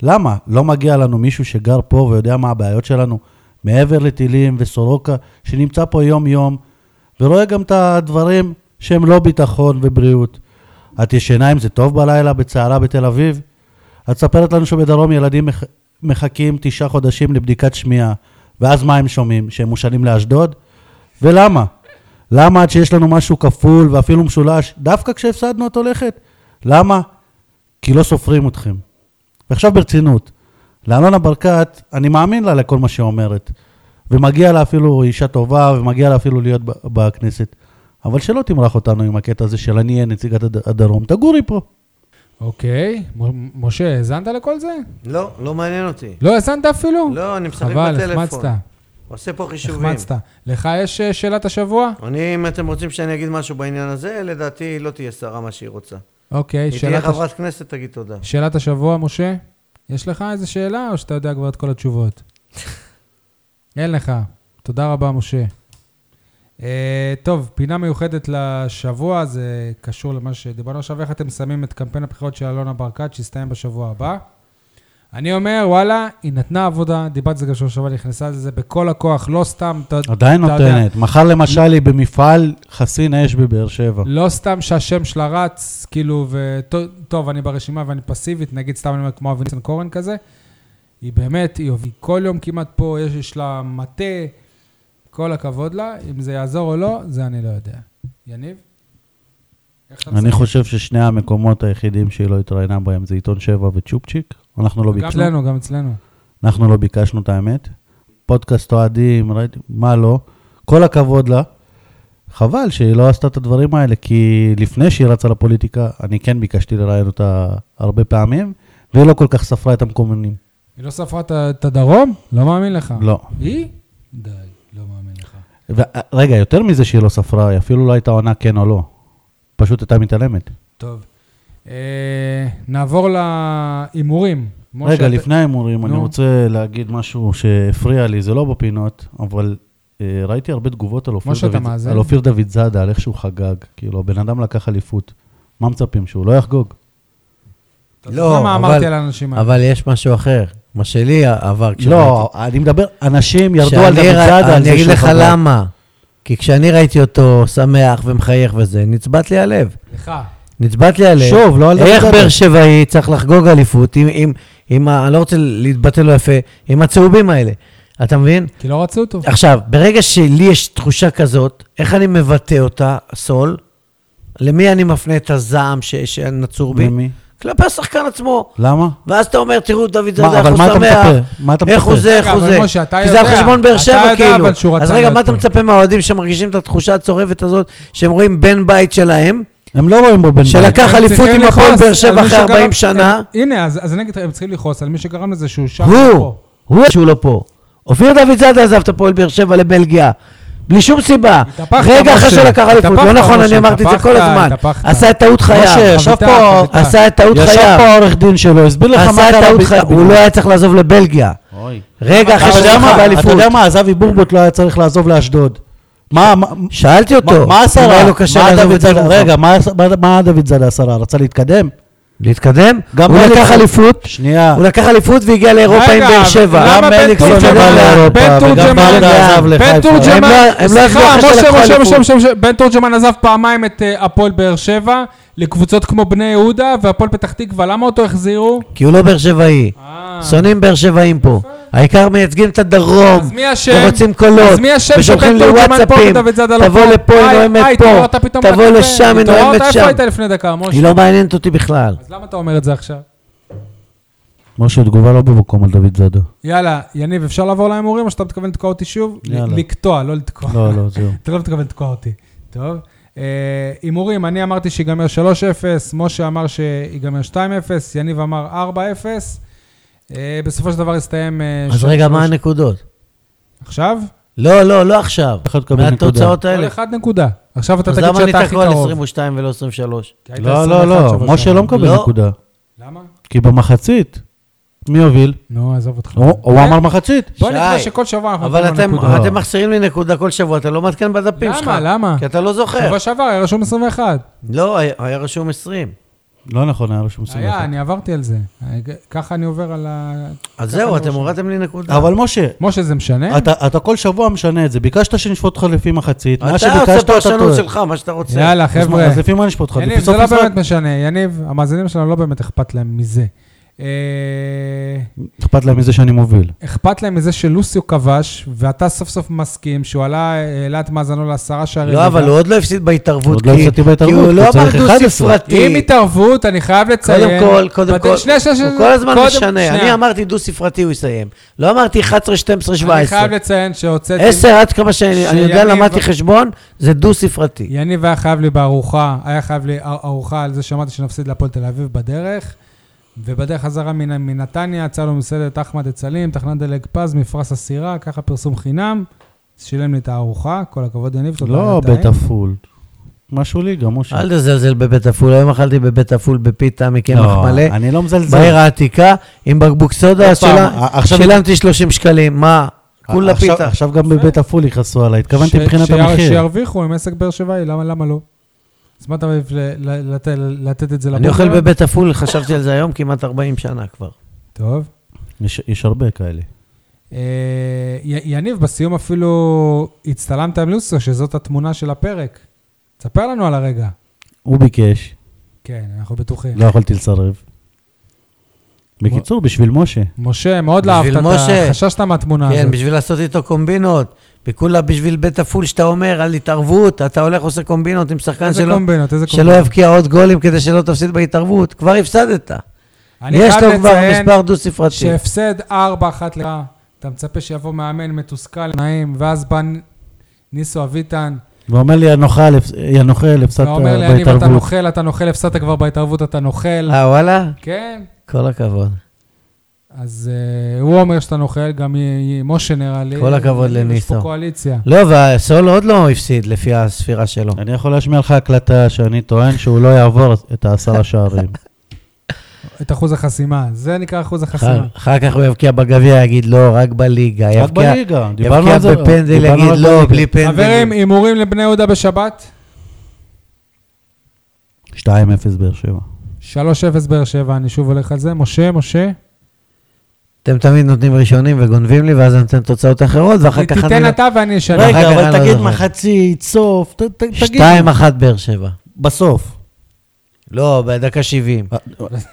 B: למה, לא מגיע לנו מישהו שגר פה ויודע מה הבעיות שלנו, מעבר לטילים וסורוקה, שנמצא פה יום-יום, ורואה גם את הדברים שהם לא ביטחון ובריאות. את ישנה אם זה טוב בלילה בצהלה בתל אביב? את ספרת לנו שבדרום ילדים מח... מחכים תשעה חודשים לבדיקת שמיעה, ואז מה הם שומעים? שהם מושאלים לאשדוד? ולמה? למה עד שיש לנו משהו כפול ואפילו משולש, דווקא כשהפסדנו את הולכת? למה? כי לא סופרים אתכם. ועכשיו ברצינות, לאלונה ברקת, אני מאמין לה לכל מה שהיא אומרת, ומגיע לה אפילו אישה טובה, ומגיע לה אפילו להיות ב- בכנסת. אבל שלא תמרח אותנו עם הקטע הזה של אני אהיה נציגת הד- הדרום, תגורי פה.
A: אוקיי, מ- משה, האזנת לכל זה?
C: לא, לא מעניין אותי.
A: לא האזנת אפילו?
C: לא, אני משחק
A: חבל,
C: בטלפון.
A: החמצת.
C: עושה פה חישובים.
A: החמצת. לך יש אה, שאלת השבוע?
C: אני, אם אתם רוצים שאני אגיד משהו בעניין הזה, לדעתי לא תהיה שרה מה שהיא רוצה.
A: אוקיי,
C: היא תהיה
A: שאלת, הש...
C: חברת כנסת, תגיד תודה.
A: שאלת השבוע, משה? יש לך איזה שאלה או שאתה יודע כבר את כל התשובות? אין לך. תודה רבה, משה. Uh, טוב, פינה מיוחדת לשבוע, זה קשור למה שדיברנו עכשיו, איך אתם שמים את קמפיין הבחירות של אלונה ברקת, שיסתיים בשבוע הבא. אני אומר, וואלה, היא נתנה עבודה, דיברת על זה גם שבוע שעבר, נכנסה לזה בכל הכוח, לא סתם, אתה
B: עדיין
A: אתה יודע,
B: נותנת. מחר למשל היא במפעל חסין אש בבאר שבע.
A: לא סתם שהשם שלה רץ, כאילו, וטוב, אני ברשימה ואני פסיבית, נגיד סתם אני אומר כמו אבי ניסנקורן כזה. היא באמת, היא עובדת כל יום כמעט פה, יש, יש לה מטה, כל הכבוד לה, אם זה יעזור או לא, זה אני לא יודע. יניב? איך אתה
B: אני
A: מסכים?
B: חושב ששני המקומות היחידים שהיא לא התראיינה בהם זה עיתון שבע וצ'ופצ'יק. אנחנו לא
A: גם
B: ביקשנו.
A: אצלנו, גם אצלנו.
B: אנחנו לא ביקשנו את האמת. פודקאסט אוהדים, ראיתי- מה לא. כל הכבוד לה. חבל שהיא לא עשתה את הדברים האלה, כי לפני שהיא רצה לפוליטיקה, אני כן ביקשתי לראיין אותה הרבה פעמים, והיא לא כל כך ספרה את המקומונים.
A: היא לא ספרה את ה- את הדרום? לא מאמין לך.
B: לא.
A: היא? די, לא מאמין לך.
B: ו- רגע, יותר מזה שהיא לא ספרה, היא אפילו לא הייתה עונה כן או לא. פשוט הייתה מתעלמת.
A: טוב. אה, נעבור להימורים. משה,
B: רגע,
A: אתה-
B: לפני ההימורים, אני
A: נו.
B: רוצה להגיד משהו שהפריע לי, זה לא בפינות, אבל אה, ראיתי הרבה תגובות על אופיר
A: משה, אתה
B: דוד-
A: מאזין?
B: על אופיר דוד זאדה, על איך שהוא חגג. כאילו, הבן אדם לקח אליפות. מה מצפים, שהוא לא יחגוג?
A: אתה
B: לא,
A: יודע מה אמרתי
C: אבל-
A: על האנשים האלה?
C: אבל יש משהו אחר. מה שלי עבר כשראיתי.
B: לא, אני מדבר, אנשים ירדו
C: שאני
B: על דוד
C: ר-
B: זאדה על
C: אני
B: זה
C: אגיד
B: שהוא
C: לך
B: חגג.
C: למה. כי כשאני ראיתי אותו שמח ומחייך וזה, נצבט לי הלב.
A: לך.
C: נצבט לי הלב.
B: שוב, לא על דוד
C: איך
B: זאדה.
C: באר שבעי צריך לחגוג אליפות עם, עם, עם ה... אני לא רוצה להתבטא לא יפה, עם הצהובים האלה. אתה מבין?
A: כי לא רצו אותו.
C: עכשיו, ברגע שלי יש תחושה כזאת, איך אני מבטא אותה, סול? למי אני מפנה את הזעם ש- שנצור בי?
B: ממי?
C: כלפי השחקן עצמו.
B: למה?
C: ואז אתה אומר, תראו, דוד
B: מה,
C: זאדה, איך
B: אבל
C: הוא
B: מה אתה
C: שמח,
B: מצפה? מה אתה
C: איך הוא
B: מצפה?
C: זה,
A: רגע,
C: איך הוא
A: אבל
C: זה.
A: משה, אתה
C: כי זה על
A: יודע.
C: חשבון באר
A: אתה
C: שבע,
A: יודע,
C: כאילו.
A: אבל שהוא רצה
C: אז רגע,
A: להיות
C: מה אתה
A: פה.
C: מצפה מהאוהדים שמרגישים את התחושה הצורבת הזאת, שהם רואים בן בית שלהם,
B: הם לא רואים בו בן בית.
C: שלקח אליפות
A: צריכים
C: עם הפועל
A: לכעוס
C: באר
A: על
C: שבע
A: מי
C: אחרי
A: שגרם-
C: 40 שנה?
A: הם- הנה, אז אז אני אגיד לך, הם צריכים לכעוס על מי שגרם לזה שהוא שם.
C: הוא,
A: פה.
C: הוא שהוא לא פה. אופיר דוד זאדה עזב את הפועל באר שבע לבלגיה. בלי שום סיבה.
A: התהפכת,
C: רגע אחרי
A: משה.
C: שלקח אליפות, לא
A: התהפכת,
C: נכון,
A: משה,
C: אני אמרתי את זה כל
A: התהפכת,
C: הזמן.
A: התהפכת.
C: עשה את טעות
B: משה,
C: חייו.
B: ישב
A: חביתה,
B: פה-
A: חביתה.
C: עשה את טעות
B: ישב
C: חייו.
B: פה העורך דין שלו, הסביר לך מה
C: עשה את
B: קרה
C: טעות
B: ב-
C: חייו. הוא לא היה צריך לעזוב לבלגיה.
E: אוי.
C: רגע אחרי
B: אתה יודע
C: שלקחה
B: מה- אתה
C: באליפות.
B: יודע מה, אז אבי בורבוט לא היה צריך לעזוב לאשדוד. מה, מה-
C: שאלתי
B: מה-
C: אותו.
B: מה
C: אם היה
B: השרה?
C: לו קשה
B: מה
C: לעזוב
B: דוד
C: את זה
B: זאדה?
C: לירוחם.
B: רגע, מה עשה- מה- מה דוד זאדה השרה? רצה להתקדם?
C: להתקדם?
B: גם
C: הוא לקח
B: מליקסון-
C: אליפות.
B: שנייה.
C: הוא לקח אליפות והגיע לאירופה עם
A: רגע,
C: באר שבע.
A: למה בן
C: מליקסון
A: תורג'מן-
C: עבר לאירופה.
A: בן
B: וגם
A: תורג'מן-
B: ברדה עזב
A: בן
B: לחיפה.
C: הם
A: תורג'מן,
C: לא- הם לא עזבו
A: סליחה,
C: אחרי
A: משה,
C: שלקחו
A: משה,
C: אליפות.
A: משה, משה, משה, בן תורג'מן עזב פעמיים את אה, הפועל באר שבע לקבוצות כמו בני יהודה והפועל פתח תקווה, למה אותו החזירו?
C: כי הוא לא באר שבעי.
A: אה.
C: שונאים באר שבעים פה. העיקר מייצגים את הדרום.
A: אז מי אשם?
C: ורוצים קולות.
A: אז מי אשם
C: ושולחים לי
A: שבן תורג'מן פה
C: וואטסאפים.
A: ודוד זאדה לא
C: תבוא
A: פה?
C: לפה, היא
A: היי, היי,
C: נואמת
A: התעוררת
C: פה.
A: פתאום
C: תבוא
A: מהקפה?
C: לשם, היא נואמת
A: התעוררת? איפה
C: שם.
A: היית לפני דקה, משה?
C: היא לא מעניינת אותי בכלל.
A: אז למה אתה אומר את זה עכשיו?
B: משה, תגובה לא במקום על דוד זאדה.
A: יאללה, יניב, אפשר לעבור להימורים או שאתה מתכוון לתקוע אותי שוב?
B: יאללה.
A: לקטוע, לא לתקוע.
B: לא, לא, זהו.
A: אתה לא מתכוון לתקוע אותי. טוב. אה, הימורים, אני אמרתי שיגמר 3-0, משה אמר שיגמר 2-0, יניב אמר 4-0. אה, בסופו של דבר הסתיים... אה,
C: אז
A: שלוש-
C: רגע, מה
A: שלוש-
C: הנקודות?
A: עכשיו?
C: לא, לא, לא עכשיו.
B: אחד מקבל נקודה.
C: מהתוצאות
A: כל
C: האלה.
A: אחד נקודה. עכשיו אתה
C: אז
A: תגיד
C: למה
A: שאתה הכי
C: ניתקו על
A: קרוב.
C: 22 ולא 23?
A: כי היית
B: לא,
A: 21
B: לא, לא,
A: שבוע
B: משה
A: שעבר.
B: לא מקבל
C: לא.
B: נקודה.
A: למה?
B: כי במחצית, מי הוביל?
A: נו, עזוב אותך.
B: הוא הוא אמר מחצית.
A: בוא נקרא
C: שי,
A: שכל שבוע אנחנו
C: אבל
A: נותנים לו
C: אתם,
A: נקודה.
C: אתם מחסירים לי נקודה כל שבוע, אתה לא מעדכן בדפים
A: למה?
C: שלך.
A: למה?
C: כי אתה לא זוכר.
A: שבוע שעבר היה רשום 21.
C: לא, היה- היה רשום 20.
B: לא נכון, היה לו שום סיבוב.
A: היה, אני עברתי על זה. ככה אני עובר על ה...
C: אז
A: ככה לא
C: זהו,
A: אני
C: אתם
A: רושם.
C: הורדתם לי נקודה.
B: אבל משה,
A: משה, זה משנה?
B: אתה אתה כל שבוע משנה את זה. ביקשת שנשפוט אותך לפי מחצית, מה
C: אתה עושה
B: שביקשת אתה
C: פרשנות
B: טועה.
C: שלך, מה שאתה רוצה.
A: יאללה,
B: אז מה-
A: חבר'ה.
B: אז לפי מה נשפוט אותך?
A: יניב,
B: לפי
A: זה
B: סוף
A: לא
B: משחק?
A: באמת משנה. יניב, המאזינים שלנו לא באמת אכפת להם מזה. אה,
B: אכפת להם מזה שאני מוביל.
A: אכפת להם מזה שלוסיו כבש, ואתה סוף סוף מסכים שהוא עלה, העלה את מאזנו לעשרה שערי
C: לא,
A: ליגה.
C: אבל הוא עוד לא הפסיד בהתערבות.
B: עוד לא
C: כי-
B: הפסדתי בהתערבות,
C: כי הוא
B: הוא
C: לא אמר
B: צריך 11.
C: דו
A: עם
C: ספרתי.
A: התערבות, אני חייב
C: קודם
A: לציין.
C: כל, קודם
A: בת-
C: כל,
A: שנייה, שנייה, שנייה.
C: הוא כל הזמן
A: קודם-
C: משנה.
A: שנייה.
C: אני אמרתי דו ספרתי, הוא יסיים. לא אמרתי 11, 12, 17.
A: אני חייב לציין שהוצאתי...
C: 10 עד כמה שאני אני יודע,
A: שיניב-
C: למדתי חשבון, זה דו ספרתי.
A: יניב היה חייב לי בארוחה, היה חייב לי ארוחה על זה שאמרתי שנפסיד להפועל תל אביב בדרך, ובדרך חזרה מנ- מנתניה, יצא לו מסעדת אחמד עצלים, תחנת דלג פז, מפרס הסירה, ככה פרסום חינם, שילם לי את הארוחה, כל הכבוד יניב, תודה
B: לא
A: היה
B: בית
A: טעים.
B: עפול. משהו ליגה, משה.
C: אל תזלזל בבית עפול, היום אכלתי בבית עפול בפיתה מקמח
B: לא,
C: מלא.
B: אני לא מזלזל.
C: בעיר העתיקה, עם בקבוק סודה,
B: עוד פעם,
C: שילם-
B: ע- עכשיו-
C: שילמתי 30 שקלים, מה? כולה
B: עכשיו-
C: פיתה.
B: עכשיו גם בבית עפול יכעסו עליי, התכוונתי
A: ש-
B: מבחינת
A: שיר-
B: המחיר.
A: שירוויחו עם עסק באר שבעי, למה למה לא? אז מה אתה מעדיף ל- ל- לת- לתת את זה
C: אני
A: לבוקר?
C: אוכל בבית עפול, חשבתי על זה היום כמעט 40 שנה כבר.
A: טוב.
B: יש- יש הרבה כאלה.
A: אה, י- יניב, בסיום אפילו הצטלמת עם לוסו, שזאת התמונה של הפרק. תספר לנו על הרגע.
B: הוא ביקש,
A: כן, אנחנו בטוחים.
B: לא יכולתי לסרב. בקיצור, בשביל משה.
A: משה, מאוד
C: בשביל
A: אהבת
C: משה.
A: את ה... חששת מהתמונה הזאת.
C: כן, בשביל לעשות איתו קומבינות, וכולה בשביל בית עפול שאתה אומר על התערבות, אתה הולך עושה קומבינות עם שחקן
A: איזה
C: שלא-
A: קומבינות, איזה
C: שלא
A: קומבינות.
C: יבקיע עוד גולים כדי שלא תפסיד בהתערבות, כבר הפסדת.
A: אני
C: יש
A: חייב
C: לו כבר
A: לציין
C: מספר דו-ספרתי.
A: שהפסד 4-1 לך, אתה מצפה שיבוא מאמן מתוסכל, נעים, ואז בא נ- ניסו אביטן,
B: ואומר לי, "הנוכל, הפס- יא נוכל, אה, הפסדת
A: ואומר לי, אני אתה
B: בהתערבות.
A: נוכל, אתה נוכל, הפסדת כבר בהתערבות, אתה נוכל.
C: אה, וואלה?
A: כן.
C: כל הכבוד.
A: אז אה, הוא אומר שאתה נוכל, גם י- י- משה נראה לי.
C: כל הכבוד
A: יש פה
C: לניסו.
A: קואליציה.
C: לא, והסול עוד לא הפסיד לפי הספירה שלו.
B: אני יכול להשמיע לך הקלטה שאני טוען שהוא לא יעבור את העשרה שערים.
A: את אחוז החסימה. זה נקרא אחוז החסימה.
C: אחר כך הוא יבקיע בגביע, יגיד לא, רק בליגה.
B: רק
C: יבקיע-
B: בליגה, דיברנו
C: יבקיע
B: על זה.
C: בפנדל,
B: דיברנו
C: יגיד
B: על
C: לא,
B: בליגה."
C: בלי פנדלים.
A: חברים, הימורים לבני יהודה בשבת,
B: 2-0 באר שבע.
A: 3-0 באר שבע, אני שוב הולך על זה. משה, משה,
C: אתם תמיד נותנים ראשונים וגונבים לי, ואז אני נותן תוצאות אחרות, ואחר כך אני...
A: תיתן אתה ואני אשלם.
C: רגע,
B: רגע,
C: אבל
B: אבל
C: תגיד
B: תגיד מחצית, סוף, תגיד.
C: 2-1 לא- באר שבע.
B: בסוף.
C: לא, בדקה 70.
B: אה.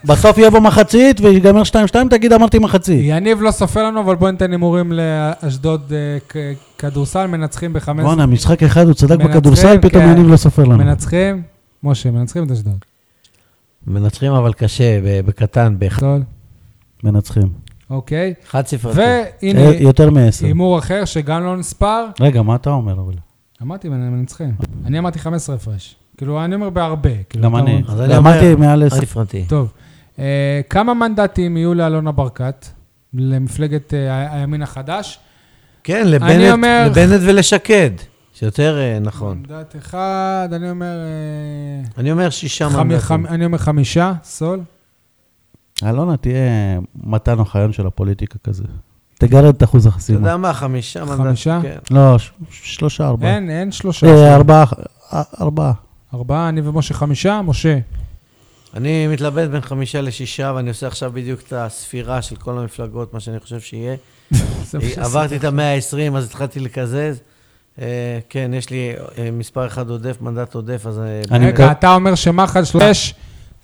B: בסוף יהיה במחצית ויגמר 2-2, תגיד אמרתי מחצית.
A: יניב לא סופר לנו, אבל בוא ניתן הימורים לאשדוד אה, כ- כדורסל, מנצחים ב-15.
B: בואנה, משחק אחד, הוא צדק
A: מנצחים,
B: בכדורסל, פתאום
A: כן.
B: יניב לא סופר לנו.
A: מנצחים, משה, מנצחים את אשדוד.
C: מנצחים אבל קשה, ב- בקטן, באחד
A: גדול,
B: מנצחים.
A: אוקיי.
C: ספרתי.
A: והנה,
B: אה, יותר מעשר.
A: הימור אחר שגם לא נספר.
B: רגע, מה אתה אומר אבל?
A: אמרתי, מנ- מנצחים. אני אמרתי 15 הפרש. כאילו, אני אומר בהרבה. כאילו,
B: גם
A: אתה
B: אני.
A: אומר-
C: אז אני
B: אמרתי
C: אומר-
B: מעל עשר.
C: ספרתי.
A: טוב, אה, כמה מנדטים יהיו לאלונה ברקת, למפלגת אה, הימין החדש?
C: כן,
A: אני
C: לבנט,
A: אומר-
C: לבנט ולשקד, שיותר אה, נכון.
A: מנדט אחד, אני אומר... אה,
C: אני אומר שישה
A: חמי-
C: מנדטים.
A: חמ- אני אומר חמישה, סול.
B: אלונה תהיה מתן אוחיון של הפוליטיקה כזה. תגרד את אחוז
C: אתה
B: החסימה.
C: יודע מה, חמישה מנדטים.
A: חמישה?
C: כן.
B: לא, ש- שלושה, ארבעה.
A: אין, אין שלושה.
B: אה, ארבעה, אה, ארבעה.
A: ארבעה, אני ומשה חמישה, משה.
C: אני מתלבט בין חמישה לשישה, ואני עושה עכשיו בדיוק את הספירה של כל המפלגות, מה שאני חושב שיהיה.
A: זה מה שעשיתי.
C: אה, עברתי את המאה ה-20, אז התחלתי לקזז. אה, כן, יש לי אה, מספר אחד עודף, מנדט עודף, אז... אה,
B: אני
A: רגע,
B: מקו-
A: אתה אומר שמח"ל שלוש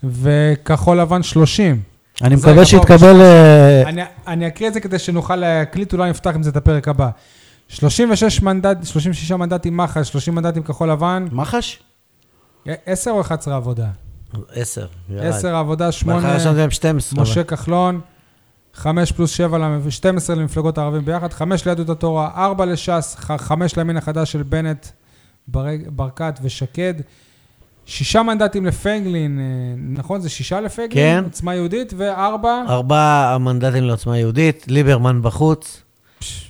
A: וכחול לבן שלושים.
B: אני
A: זה
B: מקווה
A: גבוה
B: שיתקבל... אה,
A: אני- אני אקריא את זה כדי שנוכל להקליט, אולי נפתח עם זה את הפרק הבא. 36 מנדט, 36 מנדטים מח"ל, 30 מנדטים כחול לבן,
B: מח"ש?
A: 10 או 11 עבודה?
C: עשר. ירד.
A: 10 עבודה, 8
C: בהתחלה רשמתי להם 12.
A: משה כחלון, 5 פלוס 7, למ- 12 למפלגות הערבים ביחד, 5 ליהדות התורה, 4 לש"ס, 5 לימין החדש של בנט, ברג- ברקת ושקד, 6 מנדטים לפייגלין, אה, נכון? זה 6 לפייגלין?
C: כן.
A: עוצמה יהודית, ו-4
C: אבל. ארבעה המנדטים לעוצמה יהודית, ליברמן בחוץ,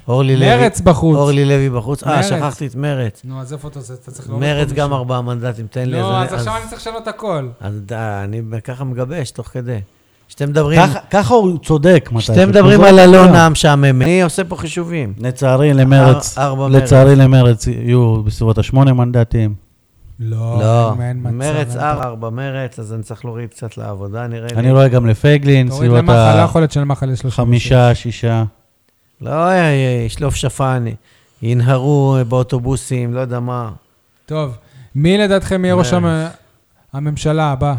C: אורלי לוי.
A: מרץ בחוץ.
C: אורלי לוי בחוץ. אה,
A: מרצ.
C: שכחתי את מרץ.
A: נו, אז איפה אתה עושה? אתה צריך להוריד
C: מרץ
A: פה
C: גם
A: מישהו.
C: ארבעה מנדטים, תן לי.
A: לא, אז עכשיו אני צריך לשנות הכל.
C: אז די, אני ככה מגבש, תוך כדי. שאתם מדברים...
B: ככה- ככה הוא צודק. מתי
C: כשאתם
B: שהוא
C: מדברים
B: חוזר
C: על
B: לשם.
C: אלונה המשעממת, אני עושה פה חישובים.
B: לצערי למרץ,
C: אר- ארבע
B: לצערי למרץ יהיו בסביבות השמונה מנדטים.
A: לא,
C: לא,
A: אין- אין מצב,
C: מרץ
A: אין-
C: ארבע, ארבע מרץ, אז אני צריך להוריד קצת לעבודה, נראה לי.
B: אני רואה גם לפייגלין,
A: תוריד
B: סביבות
A: למחל, לא יכול להיות שלמחל יש לו
B: החמישה, שישה.
C: לא, אה, אה, ישלוף שפן, ינהרו אה, באוטובוסים, לא יודע מה.
A: טוב, מי לדעתכם יהיה ראש המ-
C: מרץ.
A: הממשלה הבא?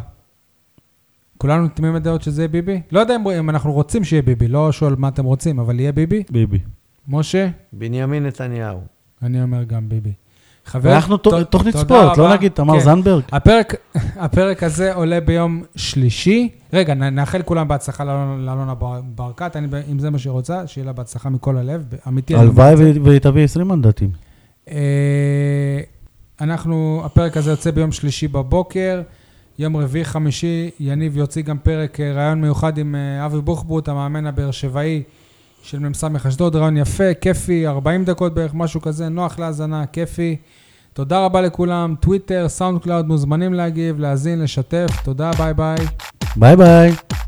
A: כולנו תמימים בדעות שזה יהיה ביבי? לא יודע אם- אם אנחנו רוצים שיהיה ביבי, לא שואל מה אתם רוצים, אבל יהיה ביבי?
B: ביבי.
A: משה?
C: בנימין נתניהו.
A: אני אומר גם ביבי. חברים,
B: אנחנו
A: ת-
B: ת- תוכנית
A: תודה
B: ספורט,
A: רבה.
B: לא נגיד תמר
A: כן.
B: זנדברג.
A: הפרק, הפרק הזה עולה ביום שלישי. רגע, נ- נאחל כולם בהצלחה לאלונה- לאלונה בר- ברקת, אני, ב- אם זה מה שהיא רוצה, שיהיה לה בהצלחה מכל הלב, ב- אמיתי. אני
B: הלוואי ו- והיא תביא 20 מנדטים.
A: אה, אנחנו, הפרק הזה יוצא ביום שלישי בבוקר, יום רביעי חמישי, יניב יוציא גם פרק, אה, ראיון מיוחד עם אה, אבי בוחבוט, המאמן הבאר שבעי של מ"ס אשדוד, ראיון יפה, כיפי, 40 דקות בערך, משהו כזה, נוח להאזנה, כיפי. תודה רבה לכולם, טוויטר, סאונד קלאוד, מוזמנים להגיב, להאזין, לשתף, תודה, ביי ביי.
B: ביי ביי.